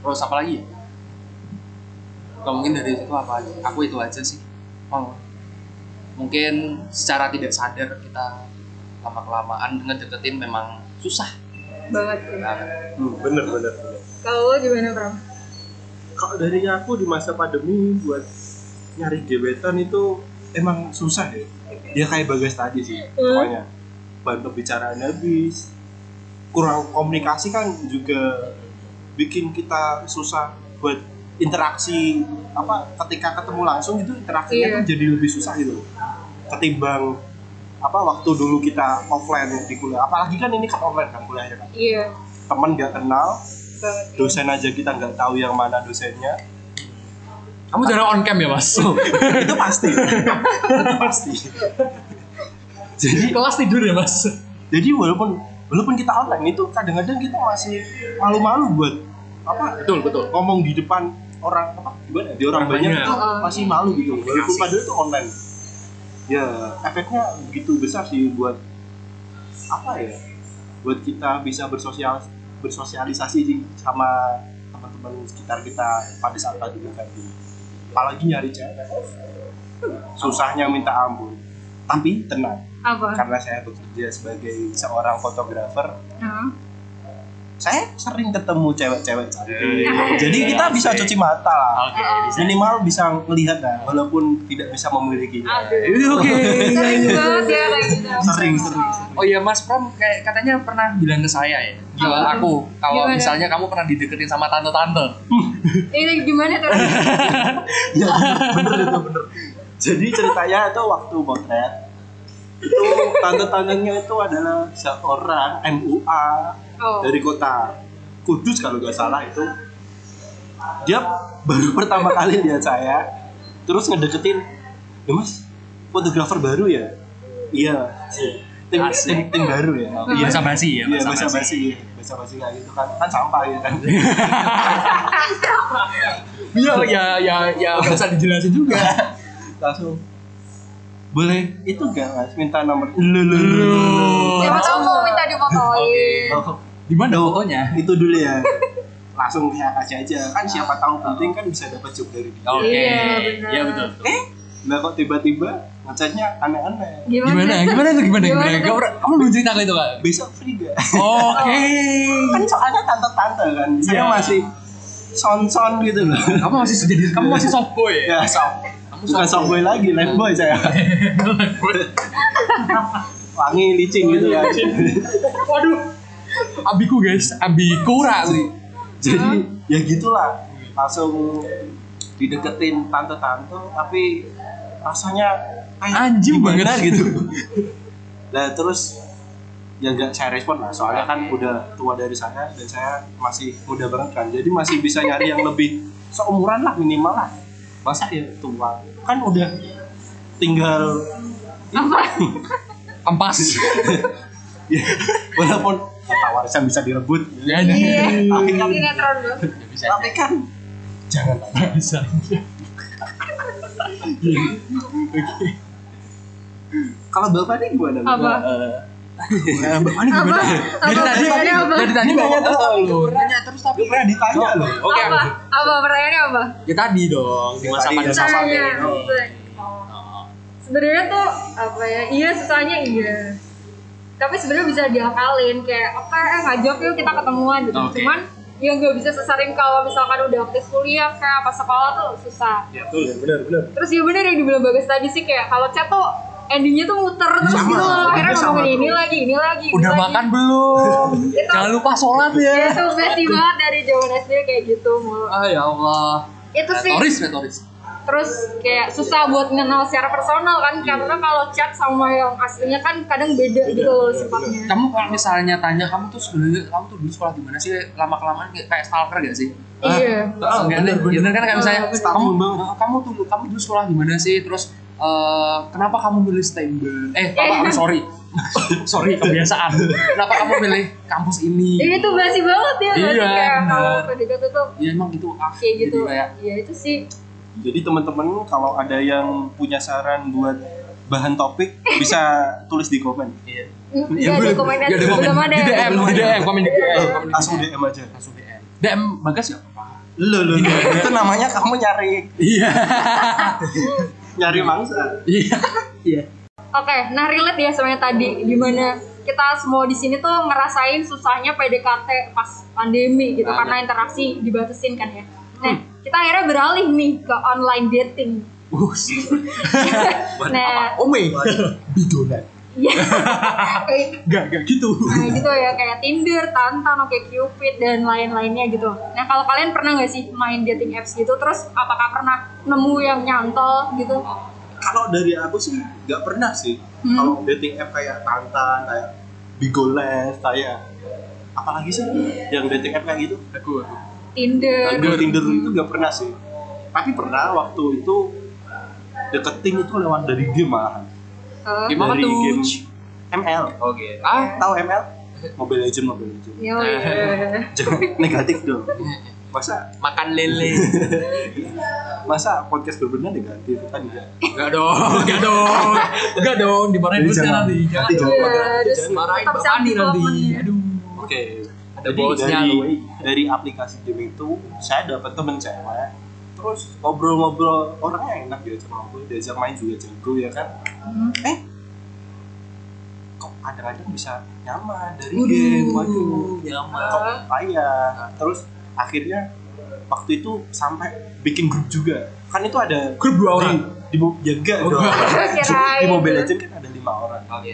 C: terus apa lagi ya kalau mungkin dari situ apa aja aku itu aja sih oh. mungkin secara tidak sadar kita lama kelamaan ngedeketin memang susah
A: banget sih.
C: banget
B: hmm, bener bener, bener.
A: Kalau lo gimana, Pram?
B: kalau dari aku di masa pandemi buat nyari gebetan itu emang susah ya ya kayak bagas tadi sih pokoknya bahan pembicaraan habis kurang komunikasi kan juga bikin kita susah buat interaksi apa ketika ketemu langsung itu interaksinya
A: Iya.
B: kan jadi lebih susah gitu ketimbang apa waktu dulu kita offline di kuliah apalagi kan ini kan online kan kuliahnya kan
A: Iya.
B: temen gak kenal
A: Banget.
B: dosen aja kita nggak tahu yang mana dosennya
C: kamu jarang on cam ya mas (laughs)
B: itu pasti itu pasti jadi
C: kelas tidur ya mas
B: jadi walaupun walaupun kita online itu kadang-kadang kita masih malu-malu buat apa
C: betul betul
B: ngomong di depan orang apa gimana di orang
C: Orang
B: banyak
C: banyak.
B: itu
A: Heeh.
B: masih malu gitu walaupun
C: Aplikasi.
B: padahal itu online ya efeknya begitu besar sih buat apa ya buat kita bisa bersosial bersosialisasi sih sama teman-teman sekitar kita pada saat tadi kan apalagi nyari cewek susahnya minta ampun tapi tenang
A: Apa?
C: Kan.
B: karena saya bekerja sebagai seorang fotografer
A: Nah.
B: saya sering ketemu cewek-cewek cantik.
C: Eh,
B: Jadi kita
C: asik.
B: bisa cuci mata lah.
C: oke bisa
B: Minimal bisa melihat lah, walaupun tidak bisa memiliki.
A: Aduh.
B: Iya,
C: oke
A: Sering banget ya kayak gitu.
B: Sering, sering, sering.
C: oh iya mas Pram kayak katanya pernah bilang ke saya ya
A: Apa
C: kalau
A: tuh?
C: aku kalau
A: Gimana?
C: misalnya kamu pernah dideketin sama tante-tante
A: Ini gimana
C: (laughs)
A: tuh?
B: Ya, bener itu bener. Jadi ceritanya itu waktu potret itu tanda-tandanya itu adalah seorang MUA
A: Oh.
B: dari kota Kudus kalau nggak salah itu dia baru pertama kali lihat saya terus ngedeketin ya mas fotografer baru ya iya sih. tim,
C: Asik.
B: tim, tim baru ya
C: iya bahasa basi ya
B: Iya,
C: bahasa
B: bahasa
C: basi
B: basi, bahasa basi kayak gitu kan, kan sampah gitu kan.
C: iya ya ya ya (laughs) nggak usah dijelasin (laughs) juga
B: Langsung boleh itu gak mas minta nomor lu
A: (laughs) Siapa tahu mau minta dipotoin.
C: di mana fotonya
B: itu dulu ya langsung saya kasih aja kan siapa tahu penting kan bisa dapat job dari dia
C: oke
A: Iya, benar.
C: iya betul
B: eh lah kok tiba-tiba ngecatnya aneh-aneh
C: gimana gimana tuh gimana
A: Gimana
C: gimana
A: tuh?
C: kamu kamu belum cerita kali itu kak
B: besok free gak (laughs)
C: oke (laughs)
B: kan soalnya tante-tante kan saya
C: Iya.
B: masih son-son gitu loh
C: kamu masih jadi kamu masih soft boy
B: ya
C: ya
B: soft
C: kamu
B: bukan soft boy lagi life boy saya wangi licin gitu kan
C: (laughs) Iya. waduh abiku guys abiku sih
B: jadi ya gitulah langsung dideketin tante-tante tapi rasanya kayak
C: Anjing
B: gimana
C: banget.
B: gitu (laughs) nah terus ya nggak saya respon lah soalnya kan udah tua dari saya dan saya masih muda banget kan jadi masih bisa nyari yang lebih seumuran lah minimal lah masa ya tua kan udah tinggal (laughs)
C: (laughs) ampas
B: ya, walaupun harta warisan bisa direbut
C: ya
A: Iya.
C: (laughs)
B: Tapi kan-
A: Sinetron loh.
C: bisa
B: tapi kan jangan
C: bisa
B: kalau bapak ini gimana
A: Apa?
B: Eh, bapak ini
A: Apa?
B: gimana
A: Apa?
C: dari tadi
A: Pertanyaannya apa?
C: dari tadi
B: Ini
C: bawa
B: nanya terus
C: oh, lu nanya terus
B: Lu pernah ditanya loh
C: oke
A: Apa? Apa pertanyaannya apa?
C: ya tadi dong di masa
B: Tadi,
C: pandemi
B: Sama
A: Tanya.
B: Beno.
A: Iya, Sebenarnya tuh apa ya? Iya susahnya iya. Tapi sebenarnya bisa diakalin kayak oke eh, ngajak yuk kita ketemuan gitu.
C: Oke.
A: Cuman ya nggak bisa sesering kalau misalkan udah aktif kuliah kayak pas sekolah tuh susah.
B: ya tuh benar benar
A: Terus ya bener yang dibilang bagus tadi sih kayak kalau chat tuh endingnya tuh muter terus
B: Sama,
A: gitu loh. Akhirnya
B: sama
A: ngomongin ini
B: terus.
A: lagi, ini lagi. ini
C: udah
A: lagi.
C: makan belum
A: Itu-
C: jangan lupa sholat ya
A: Itu basi banget dari zaman SD kayak gitu mulu.
C: ah ya Allah ya,
A: Itu sih.
C: retoris retoris
A: terus kayak susah buat mengenal secara personal
C: Iya.
A: kan karena kalau chat sama yang aslinya kan kadang beda, gitu loh sifatnya
C: kamu kalau misalnya tanya kamu tuh sebenarnya kamu tuh dulu sekolah di mana sih lama kelamaan kayak stalker gak sih
A: iya
B: Ah, bener,
C: Enggak,
B: bener.
C: kan kayak misalnya
A: Ah, bener.
C: kamu kamu tuh kamu dulu sekolah di mana sih terus eh, kenapa kamu milih STEMBEL eh apa apa, sorry (laughs) sorry kebiasaan kenapa kamu milih kampus
A: ini
C: ini
A: tuh Iya, basi banget ya berarti
C: Iya,
A: kayak kalau
C: bener.
A: PDKT tuh
C: ya emang gitu ah
A: kayak gitu
C: Jadi kayak
A: ya itu sih
B: jadi teman-teman kalau ada yang punya saran buat bahan topik bisa tulis di komen
A: nggak ada
B: bener.
A: komunikasi
C: Iya, Nggak ada
A: belum
C: komen.
A: ada ya.
C: di DM di
A: Iya.
C: DM komen di DM komen di
B: Eh, langsung
C: DM.
B: DM aja
C: langsung DM DM bagas gak apa
B: lo lo itu namanya kamu nyari
C: iya
B: nyari (laughs) mangsa
C: iya iya
A: Oke, nah relate ya sebenarnya tadi gimana kita semua di sini tuh ngerasain susahnya PDKT pas pandemi gitu
C: Banget. Hmm.
A: karena interaksi dibatasin kan ya. Nah, kita akhirnya beralih nih ke online
C: (laughs)
A: dating.
C: Bus.
A: Nah,
C: Ome. Bidolan.
A: ya, (laughs) kayak-
C: Gak, gak gitu.
A: nah gitu ya kayak Tinder, Tantan, Oke Cupid dan lain-lainnya gitu. Nah, kalau kalian pernah nggak sih main dating apps gitu? Terus apakah pernah nemu yang nyantol gitu?
B: (laughs) kalau dari aku sih nggak pernah sih
A: Hmm.
B: kalau dating app kayak tantan kayak bigoles kayak apalagi sih yang dating app kayak gitu
C: Aku, aku.
A: Tinder.
B: Tinder. Tinder itu nggak pernah sih. Tapi pernah waktu itu deketin itu lewat dari game malahan.
A: eh,
C: Gimana
B: dari
C: tuh?
B: game ML.
C: Oke. Ah,
B: Tahu ML? Mobile Legend, Mobile Legend.
A: ya,
B: (laughs)
A: ya.
B: Jangan (laughs) negatif dong. Masa
C: makan lele.
B: masa podcast berbenah negatif kan enggak.
C: Enggak dong, enggak dong. Enggak dong,
B: Jadi
C: dimarahin terus
B: jangan.
C: nanti. Jangan
B: Nanti jangan.
C: dong.
A: Iya, terus
C: Marahin
A: tetap
C: Mbak
A: self
C: Ani nanti.
A: development-nya.
C: Aduh.
B: Oke.
C: Ada
B: Jadi
C: bosnya
B: dari,
C: lu.
B: dari aplikasi game itu saya dapat temen cewek. Terus ngobrol-ngobrol orangnya enak diajak ngobrol, diajak main juga jago ya kan.
A: Hmm.
B: eh kok kadang-kadang bisa nyaman dari
C: Waduh,
B: game waduh
C: nyaman.
B: kok payah Ah, iya. terus akhirnya waktu itu sampai bikin grup juga kan itu ada
C: Grup dua orang.
B: di, di mo- ya enggak
C: Oh,
B: dong
A: Kirain.
B: (laughs) di Mobile Legends kan ada lima orang
C: Oke.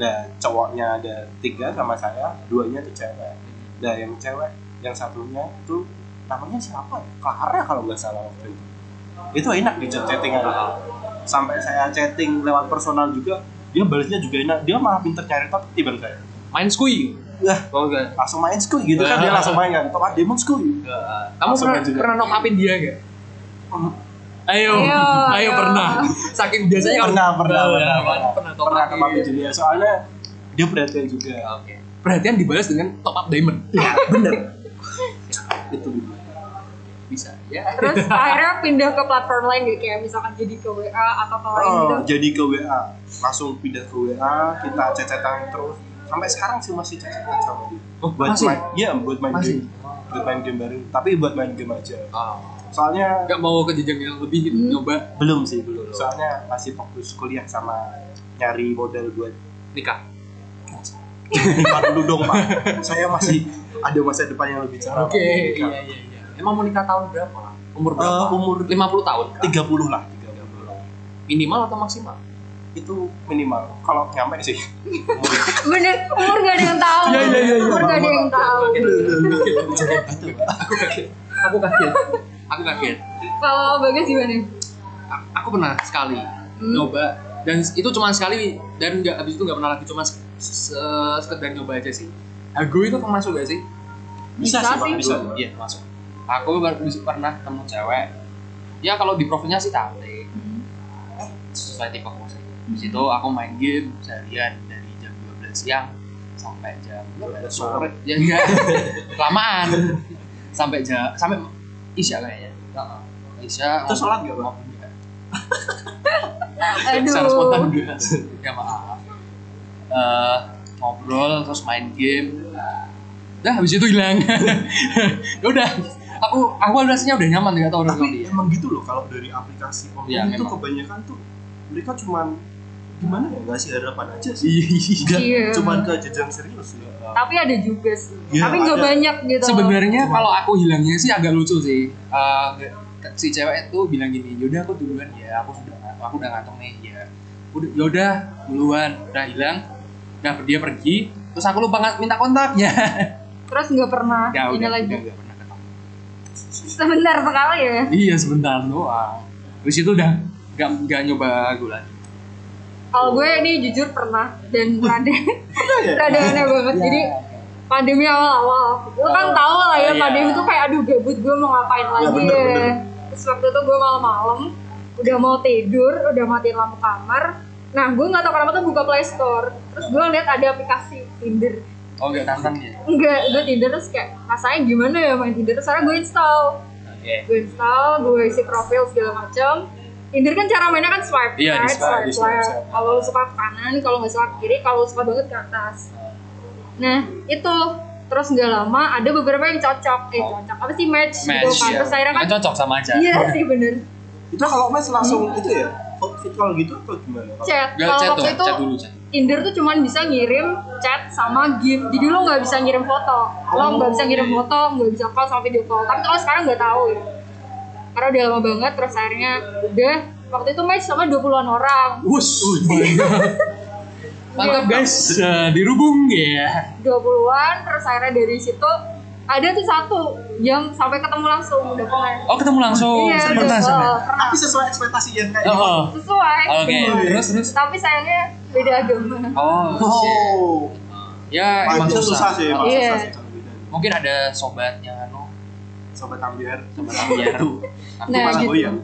B: nah cowoknya ada tiga sama saya duanya tuh cewek nah yang cewek yang satunya itu namanya siapa ya Clara kalau nggak salah waktu itu itu enak di chat chattingan sampai saya chatting lewat personal juga dia balasnya juga enak dia malah pinter cari topik tiban saya
C: Main skui.
B: Wah,
C: Oh, enggak.
B: langsung main school gitu kan dia langsung main kan top demon school
C: Kamu
B: Langsung
C: pernah
B: aja.
C: pernah knock upin dia enggak? Ayo,
A: Ayo, ayo.
C: ayo pernah. Saking biasanya kalau-
B: pernah pernah
C: Iya,
B: pernah
C: pernah
B: pernah
C: top
B: pernah
C: up
B: sama
C: iya.
B: Julia soalnya dia perhatian juga
C: Oke. Perhatian dibalas dengan top up diamond.
B: bener itu
C: Bisa. Ya.
A: Terus akhirnya pindah ke platform lain gitu kayak misalkan jadi ke WA atau ke lain gitu.
B: Oh, jadi ke WA, langsung pindah ke WA, kita cecetan terus. Sampai sekarang sih masih cecetan sama dia.
C: Oh,
B: buat
C: masih?
B: main, iya buat main game,
C: Masih?
B: buat main game baru. Tapi buat main game aja.
C: Oh.
B: Soalnya
C: Enggak mau ke jenjang yang lebih gitu,
A: Hmm.
C: nyoba
B: belum sih belum. Soalnya masih fokus kuliah sama nyari modal buat
C: nikah.
B: Pak dulu dong pak. Saya masih ada masa depan yang lebih cerah. Pak.
C: Oke, iya iya iya. Emang mau nikah tahun berapa? Oh. Lam? Umur berapa?
B: Eh, umur
C: 50 tahun kah?
B: 30 lah
C: 30. Minimal atau maksimal?
B: itu minimal kalau nyampe sih
A: Bener, umur gak ada yang tahu.
B: Iya, iya, iya, iya.
A: Umur gak ada yang tahu.
C: Aku kaget. Aku kaget.
A: Kalau Bagas gimana?
C: A- Aku pernah sekali
A: Hmm.
C: nyoba dan itu cuma sekali dan nggak habis itu nggak pernah lagi cuma se- se- sekedar nyoba aja sih. Aku itu termasuk gak sih?
A: Bisa
B: bisa, sih Bang,
A: sih.
B: bisa
C: Iya masuk. Aku baru pernah ketemu cewek. Ya kalau di profilnya sih cantik.
B: Hmm.
C: Sesuai tipe aku sih. Di situ aku main game seharian dari jam 12 siang sampai jam 12 sore. Ya enggak. (laughs) Kelamaan. Sampai jam sampai isya kayaknya. Heeh. Isya. Iya.
B: Terus sholat nggak, Bang?
C: Ngobrol nggak? Secara spontan
A: Aduh.
C: enggak. (laughs) Ya maaf. Eh, ngobrol terus main game Dah habis itu hilang. (laughs) Ya udah, aku aku rasanya udah nyaman nggak
B: tapi
C: tahu orang ya. dia.
B: emang gitu loh kalau dari aplikasi
C: Iya,
B: online itu
C: memang.
B: kebanyakan tuh mereka cuman gimana ya ngasih harapan aja sih
C: Iya.
A: Iya.
B: cuman ke jenjang serius ya.
A: Tapi ada juga sih.
B: Iya,
A: Tapi gak
B: ada.
A: banyak gitu.
C: Sebenarnya kalau aku hilangnya sih agak lucu sih. Eh, si cewek itu bilang gini, yaudah aku duluan ya, aku sudah aku udah ngantuk nih ya. Udah, yaudah duluan, udah hilang. Nah dia pergi, terus aku lupa nggak- minta kontaknya. (laughs)
A: Terus gak pernah
C: ya udah,
A: ini
C: udah
A: lagi.
C: nggak pernah ketemu.
A: Sebentar sekali ya.
C: Iya sebentar doang. Terus itu udah nggak nggak nyoba aku lagi.
A: Kalau gue ini jujur pernah dan rada
B: ya?
A: rada aneh banget. Jadi pandemi awal-awal, lo kan tau lah ya
C: Iya.
A: pandemi tuh kayak aduh gabut gue mau ngapain lagi
B: bener,
A: ya.
B: bener.
A: Terus waktu itu gue malam-malam udah mau tidur, udah matiin lampu kamar. Nah gue nggak tahu kenapa tuh buka Play Store, terus gue lihat ada aplikasi Tinder.
C: Oh nggak tantang ya?
A: Enggak, gue Tinder terus kayak rasanya gimana ya main Tinder. Terus akhirnya gue install,
C: Iya.
A: gue install, gue isi profil segala macam. Tinder kan cara mainnya kan swipe
C: Iya,
A: right,
C: di swipe,
A: swipe
B: di swipe,
A: left.
B: swipe.
A: Kalau lu suka ke kanan, kalau nggak suka ke kiri, kalau lu suka banget ke atas. Nah itu terus nggak lama ada beberapa yang cocok, eh cocok apa sih match, gitu
C: Oh. Match.
A: kan. Terus akhirnya kan,
C: Kan cocok sama aja.
A: (laughs) iya sih bener
B: itu kalau mas langsung
C: Iya.
B: itu ya outfit kalau gitu atau gimana
A: chat.
C: Nggak,
A: Kalau
C: chat
A: waktu
C: dong,
A: itu
C: chat dulu chat.
A: Tinder tuh cuman bisa ngirim chat sama gif. Jadi lo nggak bisa ngirim foto.
C: Oh.
A: Lo nggak bisa ngirim foto, nggak bisa call sama video call. Tapi kalau sekarang nggak tahu ya. Karena udah lama banget terus akhirnya udah waktu itu match sama 20-an orang.
C: Wush, Oh,
A: Iya.
C: mantap guys, Eh, dirubung ya.
A: 20-an terus akhirnya dari situ ada tuh satu jam sampai ketemu langsung udah pengen.
C: Oh ketemu langsung,
A: iya,
C: Saya
A: video
C: pernah
A: call,
C: sama.
A: pernah.
B: tapi sesuai ekspektasi yang kayak gitu.
C: Oh, oh.
A: Sesuai.
C: oke, terus terus.
A: Tapi sayangnya beda agama.
C: Oh, shit.
B: oh
C: ya
B: Wah,
C: emang
B: itu susah sih emang
A: Iya.
B: susah sih kalau beda.
C: Mungkin ada sobatnya, no,
B: sobat Oh ambiar
C: sobat ambiar. Tapi
A: Nah,
C: malah
A: gitu.
B: iya.
C: goyang.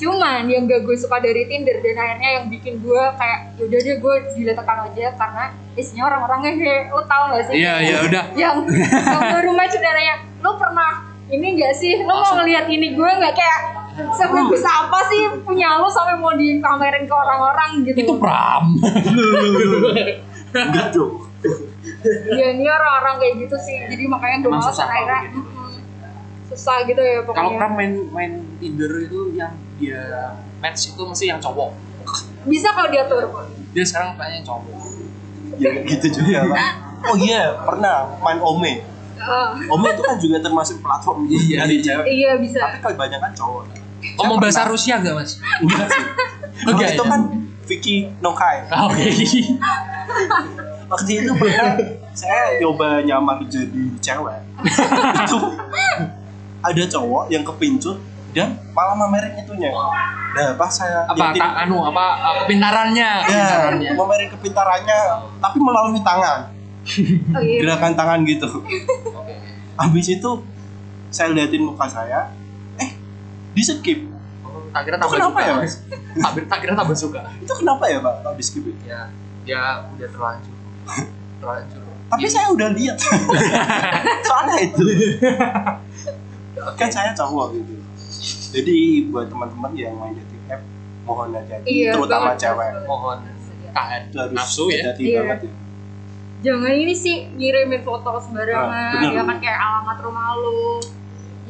A: cuman yang gak gue suka dari Tinder dan akhirnya yang bikin gue kayak yaudah deh gue diletakkan aja karena isinya orang-orang ngehe lo tau gak sih
C: Iya, iya udah.
A: yang yang baru match udah nanya lo pernah ini gak sih lo mau
C: Langsung.
A: ngeliat ini gue nggak kayak sebagus apa sih punya lo sampai mau dipamerin ke orang-orang gitu
C: Itu pram.
B: enggak dong
A: ya ini orang-orang kayak gitu sih jadi makanya gue
C: Emang
A: malas
C: susah kalau
A: akhirnya
C: gitu.
A: mm, susah gitu ya
C: Kalau
A: pokoknya
C: pram main main Tinder itu yang dia match itu mesti yang cowok.
A: bisa kalau diatur kok
C: Dia sekarang kayaknya yang cowok.
B: ya gitu juga Pak. oh iya pernah main ome
A: Ah,
B: ome itu kan juga termasuk platform
C: Iya.
B: dari cewek
A: iya bisa
B: tapi kebanyakan cowok
C: Ngomong bahasa Rusia nggak mas?
B: enggak sih
C: (laughs) Oke,
B: Kalau itu
C: ya.
B: kan Vicky Nokai
C: Oke.
B: waktu itu pernah saya coba nyamar jadi cewek itu ada cowok yang kepincut dan malah mamerin itunya nah pas saya
C: Apa
B: liatin-
C: tak anu apa eh, kepintarannya?
B: ya,
C: Kepintarannya.
B: mamerin kepintarannya tapi melalui tangan
A: oh, iya.
B: gerakan tangan gitu
C: Oke.
B: habis itu saya liatin muka saya eh di skip
C: Tak kira tambah
B: Kenapa
C: suka.
B: ya, Mas?
C: Tak, tak kira tambah suka.
B: itu kenapa ya pak tak di skip itu?
C: Ya, ya udah terlanjur. Terlanjur.
B: tapi saya udah
A: (laughs)
B: lihat soalnya itu kan saya cowok gitu jadi buat teman-teman yang main dating app mohon hati-hati
A: Iya,
B: terutama
A: banget.
B: cewek
C: mohon tahan
B: itu harus
C: nafsu ya.
B: hati
A: Iya.
B: banget ya.
A: jangan ini sih ngirimin foto sembarangan
B: Ah, bener.
A: ya kan kayak alamat rumah lu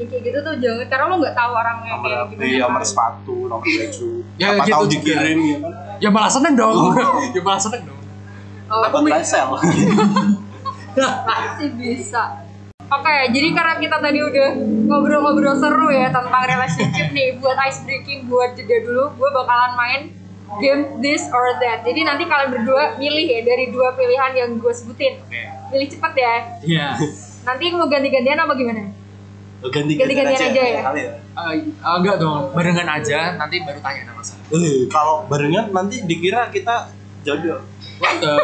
A: ya kayak gitu tuh jangan karena lu nggak tahu orangnya
B: nomor
A: kayak
B: HP,
A: gimana kan. Iya.
B: nomor sepatu, nomor baju
C: Ya,
B: apa
C: gitu
B: tahu
C: juga.
B: dikirim ya
A: Oh,
B: kan
C: Ya malah seneng dong. (laughs) ya malah
A: (laughs)
C: seneng dong.
A: Oh,
B: Apa sel
A: pasti bisa Oke, jadi karena kita tadi udah ngobrol-ngobrol seru ya tentang relationship nih, buat ice breaking, buat jeda dulu, gue bakalan main game this or that. Jadi nanti kalian berdua milih ya dari dua pilihan yang gue sebutin.
C: Oke.
A: Pilih cepet ya.
C: Iya.
A: Nanti mau ganti-gantian apa gimana?
B: ganti
A: Ganti-gantian aja ya?
B: kali ya.
C: Eh, enggak dong, barengan aja nanti baru tanya nama saya.
B: Eh, kalau barengan nanti dikira kita jodoh.
C: What the?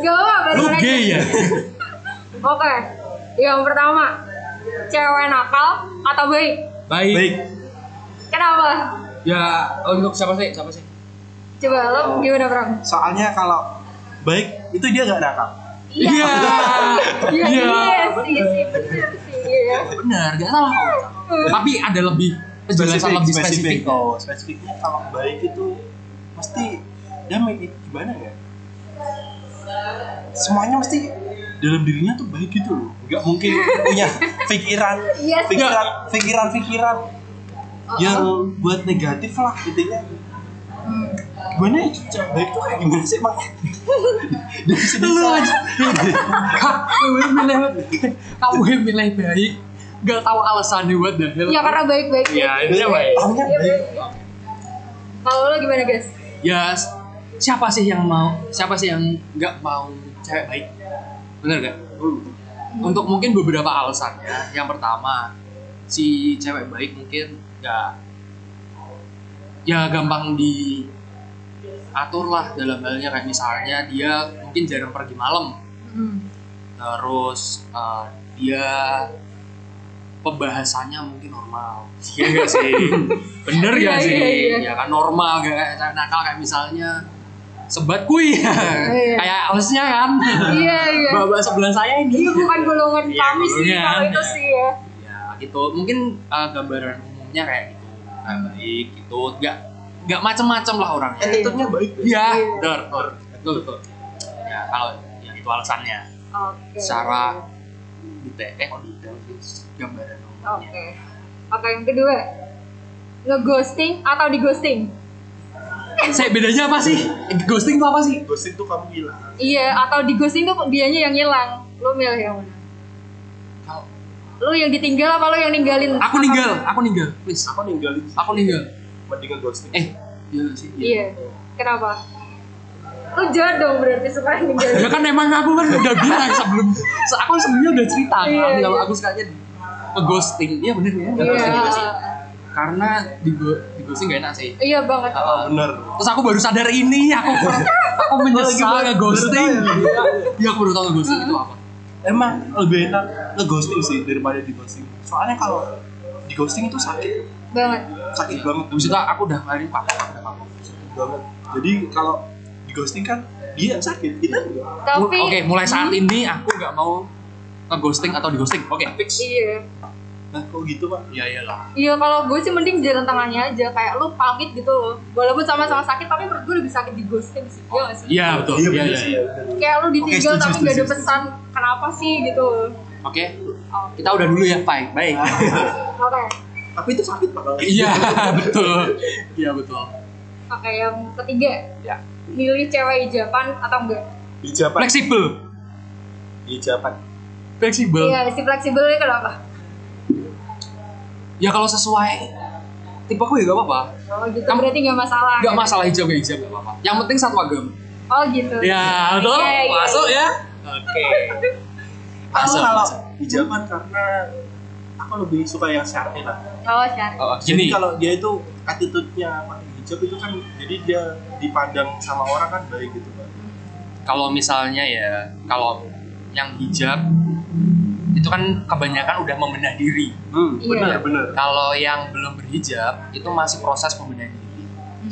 A: Gak apa-apa, baru
C: Lu
A: aja.
C: gay ya?
A: Oke, yang pertama, cewek nakal atau baik?
C: (laughs) Baik.
B: Baik.
A: Kenapa?
C: Ya untuk siapa sih? Siapa sih?
A: Coba lo gimana, Bro?
B: Soalnya kalau baik itu dia nggak nakal.
A: Iya. Iya,
C: Iya.
A: iya sih, sih, bener sih, iya.
C: Benar, gak salah. Tapi ada lebih penjelasan lebih spesifik.
B: Oh, spesifiknya kalau baik itu mesti dia make it gimana ya? Semuanya mesti dalam dirinya tuh baik gitu loh. Nggak mungkin punya pikiran,
A: Iya sih.
B: pikiran, pikiran, pikiran
A: Oh,
B: yang buat negatif lah intinya. Gimana ya cewek baik tuh kayak gimana sih emang? Dia bisa bisa.
C: Kamu milih kamu milih baik, gak tahu alasannya buat dah.
A: Ya karena baik-baik.
C: Ya, intinya baik.
B: Tahunya
A: Iya,
B: baik.
A: baik. Kalau lo gimana, guys?
C: Ya s- siapa sih yang mau? Siapa sih yang nggak mau cewek baik? Bener gak? Untuk mungkin beberapa alasannya. Yang pertama, si cewek baik mungkin nggak ya gampang di atur lah dalam halnya kayak misalnya dia mungkin jarang pergi malam
A: Hmm.
C: terus eh, dia pembahasannya mungkin normal (laughs) iya gak sih bener
A: Iya,
C: gak sih
A: iya, iya.
C: ya kan normal gak kayak cewek nakal kayak misalnya sebat kui
A: Iya.
C: kayak alesnya kan
A: Iya, iya.
C: bawa sebelah saya ini
A: Iya, bukan golongan
C: Iya,
A: kami sih,
C: golongan.
A: kalau itu sih ya.
C: ya gitu mungkin eh, gambaran umumnya kayak gitu Nah, baik gitu nggak nggak macem-macem lah orangnya
B: Attitude-nya baik.
C: iya bener bener. betul betul ya kalau ya itu alasannya
A: Oke.
C: secara detail eh kok detail sih gambaran
A: Oke.
C: umumnya
A: Oke, yang kedua. Ngeghosting atau dighosting?
C: saya bedanya apa sih Eh, ghosting itu apa sih
B: Ghosting tuh kamu hilang.
A: Iya, atau dighosting tuh dianya yang hilang. Lo milih yang mana?
C: Kalau-
A: Lo yang ditinggal apa lo yang ninggalin?
C: aku ninggal aku ninggal please
B: Aku ninggalin sih.
C: aku ninggal
B: Mendingan ghosting.
C: eh iya nggak sih Iya.
A: Iya. Kenapa? Lu jahat dong berarti suka ninggalin.
C: ya kan emang aku kan udah bilang sebelum se- aku sebelumnya udah cerita kan
A: Iya,
C: kalau
A: iya.
C: aku sukanya ghosting iya bener ya ghosting juga sih karena di, go- di ghosting gak enak sih Eh,
A: Iya banget.
B: Oh, bener.
C: terus aku baru sadar ini
B: (laughs)
C: aku aku menyesal nge ghosting
B: ya.
C: iya aku baru tau nge ghosting itu apa
B: emang lebih enak nge ghosting sih daripada di ghosting soalnya kalau di ghosting itu sakit
A: Banget.
B: sakit banget
C: habis itu aku udah ngalir pak aku udah mabuk.
B: sakit banget jadi kalau di ghosting kan dia yang sakit kita enggak
A: Tapi
C: Mul- Oke, mulai saat ini aku nggak mau nge-ghosting atau di-ghosting. Oke, fix.
A: Iya.
B: nah kok gitu pak
C: Ya iyalah.
A: Iya kalau gue sih mending jalan tangannya aja kayak lu pamit gitu loh. Walaupun sama-sama sakit tapi menurut gue lebih sakit di ghosting sih. Iya gak sih?
C: Iya betul. Iya
B: bener
C: iya.
B: sih, bener.
A: Kayak lu ditinggal
B: setuju,
A: tapi gak ada
B: setuju,
A: pesan kenapa sih gitu. loh.
C: Oke. Kita udah dulu ya, Pai. Baik.
B: Ah.
A: Oke.
B: tapi itu sakit pak kalau
C: (laughs) Iya, betul. Iya betul.
A: Oke, yang ketiga.
C: Ya.
A: Milih cewek hijaban atau enggak?
B: hijapan
C: Fleksibel.
B: hijapan
C: Fleksibel.
A: Iya, si fleksibelnya kenapa?
C: Ya kalau sesuai tipe aku ya gak apa-apa.
A: Oh gitu,
C: Kamu-
A: berarti gak masalah.
C: Gak
A: ya?
C: masalah hijab gak hijab gak apa-apa. Yang penting satu agama.
A: Oh gitu.
C: Ya, betul.
A: Iya, iya,
C: Masuk
A: iya.
C: ya. Oke.
B: aku
C: Masuk,
B: kalau
C: masuk.
B: hijapan karena aku lebih suka yang syar'i lah
A: Oh, syari.
C: Oh,
B: jadi
C: gini.
B: kalau dia itu attitude-nya pakai hijab itu kan jadi dia dipandang sama orang kan baik gitu pak
C: kalau misalnya ya kalau yang hijab itu kan kebanyakan udah membenah diri.
B: hmm,
A: Iya.
B: bener bener
C: Kalau yang belum berhijab itu masih proses pembenahan diri.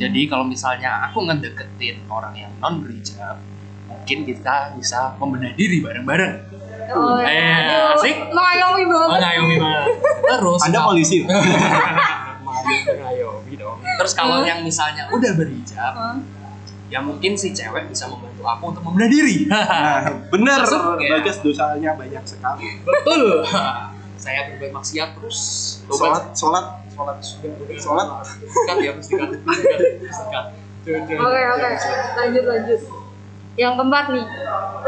C: Jadi kalau misalnya aku ngedeketin orang yang non berhijab, mungkin kita bisa membenahi diri bareng-bareng.
A: Oh,
C: Eh,
A: aduh,
C: asik.
A: Mengayomi
C: Oh,
A: banget.
C: Mengayomi banget. Terus
B: anda
C: kalau- (laughs)
B: polisi Pak?
C: terus kalau
A: Hah?
C: yang misalnya udah berhijab,
A: Hah?
C: ya mungkin si cewek bisa membantu aku untuk membenahi diri.
B: (laughs) Nah, bener,
C: Masuk, ya.
B: Bagas dosanya banyak
C: Iya.
B: sekali.
C: Betul. Saya berbuat maksiat terus.
B: Sholat, sholat, sholat, sholat.
C: Cut ya, mesti cut. Mesti cut, mesti cut. Jangan, jangan,
A: Oke,
C: jangan,
A: oke.
C: jangan.
A: Lanjut, lanjut. Yang keempat nih,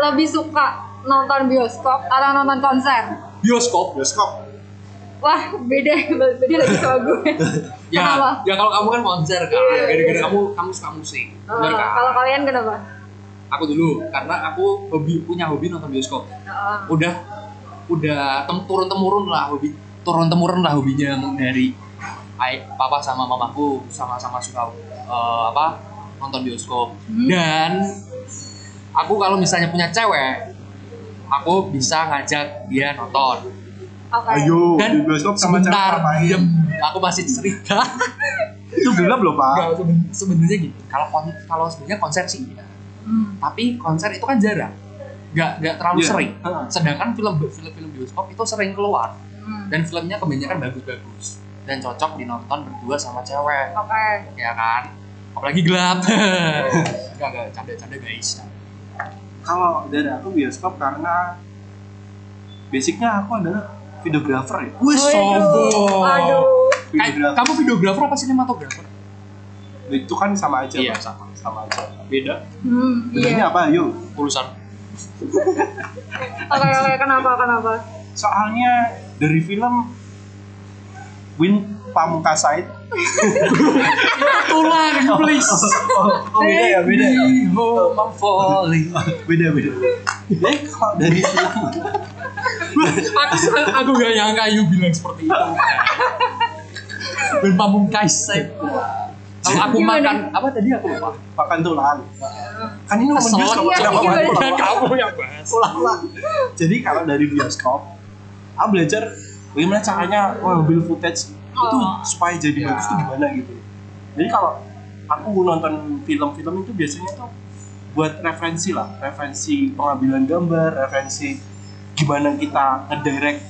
A: lebih suka nonton bioskop atau nonton konser?
C: bioskop
B: bioskop
A: Wah, beda beda lagi sama gue.
C: (laughs) ya
A: Kenapa?
C: ya kalau kamu kan konser kan
A: Iya,
C: gara-gara
A: iya.
C: kamu kamu suka musik
A: Oh,
C: bener kan
A: kalau kalian kenapa?
C: aku dulu karena aku hobi punya hobi nonton bioskop
A: Oh,
C: udah udah tem turun temurun lah hobi turun temurun lah hobinya dari ai- papa sama mamaku sama-sama suka eh, apa nonton bioskop
A: Hmm.
C: dan aku kalau misalnya punya cewek aku bisa ngajak dia nonton
A: oke.
B: ayo
C: dan
B: di bioskop sama
C: sebentar
B: cara main
C: diem aku masih
B: (laughs)
C: cerita
B: itu gelap loh pak
C: Enggak, seben- sebenarnya gitu kalau kon- kalau sebenarnya konser sih iya.
A: Hmm.
C: tapi konser itu kan jarang nggak nggak terlalu
B: Iya.
C: sering
B: Heeh.
C: sedangkan film film film bioskop itu sering keluar
A: hmm.
C: dan filmnya kebanyakan bagus-bagus dan cocok dinonton berdua sama cewek
A: hmm. Oke.
C: ya kan apalagi gelap (laughs) nggak nggak canda-canda guys
B: kalau dari aku bioskop karena basicnya aku adalah videografer ya
C: wih
A: Aduh. aduh.
C: Kayak-
B: videografer
C: kamu videografer apa sinematografer
B: itu kan sama aja
C: Iya,
B: Pak. sama sama aja
C: beda
A: Hmm, iya.
B: bedanya apa yuk
C: urusan
A: Oke, oke, kenapa kenapa?
B: soalnya dari film Win Pamungkas Said
C: (laughs) tulang please
B: oh, oh, beda ya beda ya
C: Baby, home I'm falling
B: beda beda eh kalau dari film
C: aku senang- aku gak nyangka you bilang seperti itu dan pamungkas saya kalau aku
A: Gimana?
C: makan apa tadi aku lupa
B: makan tulang kan ini ngomong
C: Kesel.
B: bioskop
A: Iya,
B: kenapa
A: iya,
B: makan
A: iya.
B: tulang?
C: kamu yang bahas
B: Tulang, tulang. jadi kalau dari bioskop aku belajar bagaimana caranya ngambil footage itu
A: Oh.
B: supaya jadi
C: Iya.
B: bagus itu gimana gitu jadi kalau aku nonton film-film itu biasanya tuh buat referensi lah referensi pengambilan gambar referensi gimana kita ngedirect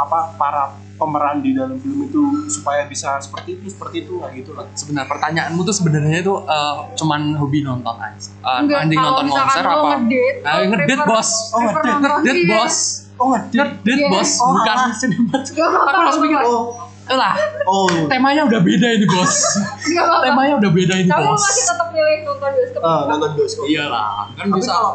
B: apa para pemeran di dalam film itu supaya bisa seperti itu seperti itu lah gitu lah
C: sebenarnya pertanyaanmu tuh sebenarnya tuh eh, cuman hobi nonton aja Eh, mending
A: kalau
C: nonton
A: misalkan
C: konser
A: lo
C: apa
A: ngedate,
C: Nah,
A: lo
C: ngedate,
A: prefer-
C: bos.
B: Oh,
C: (laughs)
A: prefer
B: ngedate,
A: nonton,
C: Dead
A: iya.
C: bos
B: oh ngerti
C: Dead
A: Iya.
C: bos
B: Oh,
C: bukan
B: alah.
C: sinematografer.
A: Gak apa-apa,
C: Aku langsung mikir,
A: gak
B: oh
C: lah
B: oh
C: temanya udah beda ini
A: (laughs)
C: bos
A: apa-apa.
C: temanya udah beda ini
A: Kamu
C: bos
A: masih tetap milih nonton bioskop.
B: Ah, nonton bioskop
C: iyalah kan
B: tapi
C: bisa
B: kalau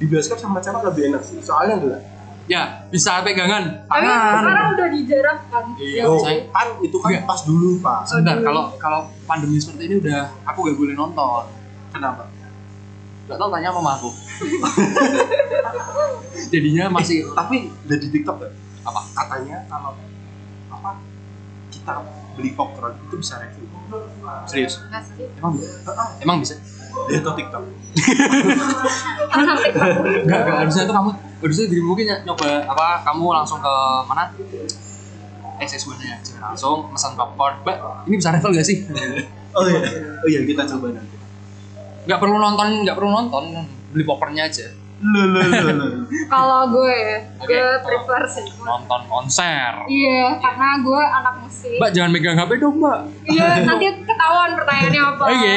B: di bioskop sama cewek lebih enak sih soalnya enggak
C: ya bisa pegangan
A: Tapi sekarang
C: tangan
A: udah dijarakkan.
C: Ah. Iya,
A: Ya,
B: Oh,
C: saya-
B: kan itu kan
C: Iya.
B: pas dulu pak
C: sebentar
A: Aduh.
C: kalau kalau pandemi seperti ini udah aku gak boleh nonton
B: kenapa
C: Gak tau tanya sama
A: (laughs)
C: aku Jadinya masih
B: tapi udah di tiktok ya?
C: Apa?
B: katanya kalau apa kita beli popcorn itu bisa review serius
A: Kasih.
C: Emang bisa? Emang bisa?
B: dia tuh tiktok
A: Anak TikTok.
C: Enggak, enggak harusnya itu kamu Harusnya dirimu mungkin ny- nyoba apa Kamu langsung ke mana? SS nya aja langsung pesan popcorn Mbak, ini bisa level
A: (laughs)
C: gak sih?
B: oh iya oh iya kita coba nanti
C: Gak perlu nonton, gak perlu nonton Beli popcornnya aja
B: lo lo lo lo
A: (laughs) Kalau gue, ya,
C: Oke. Oh.
A: gue prefer sih.
C: Nonton konser
A: Iya, karena gue anak musik.
C: Mbak, jangan megang HP dong mbak (laughs)
A: Iya, nanti ketahuan pertanyaannya apa.
C: Oke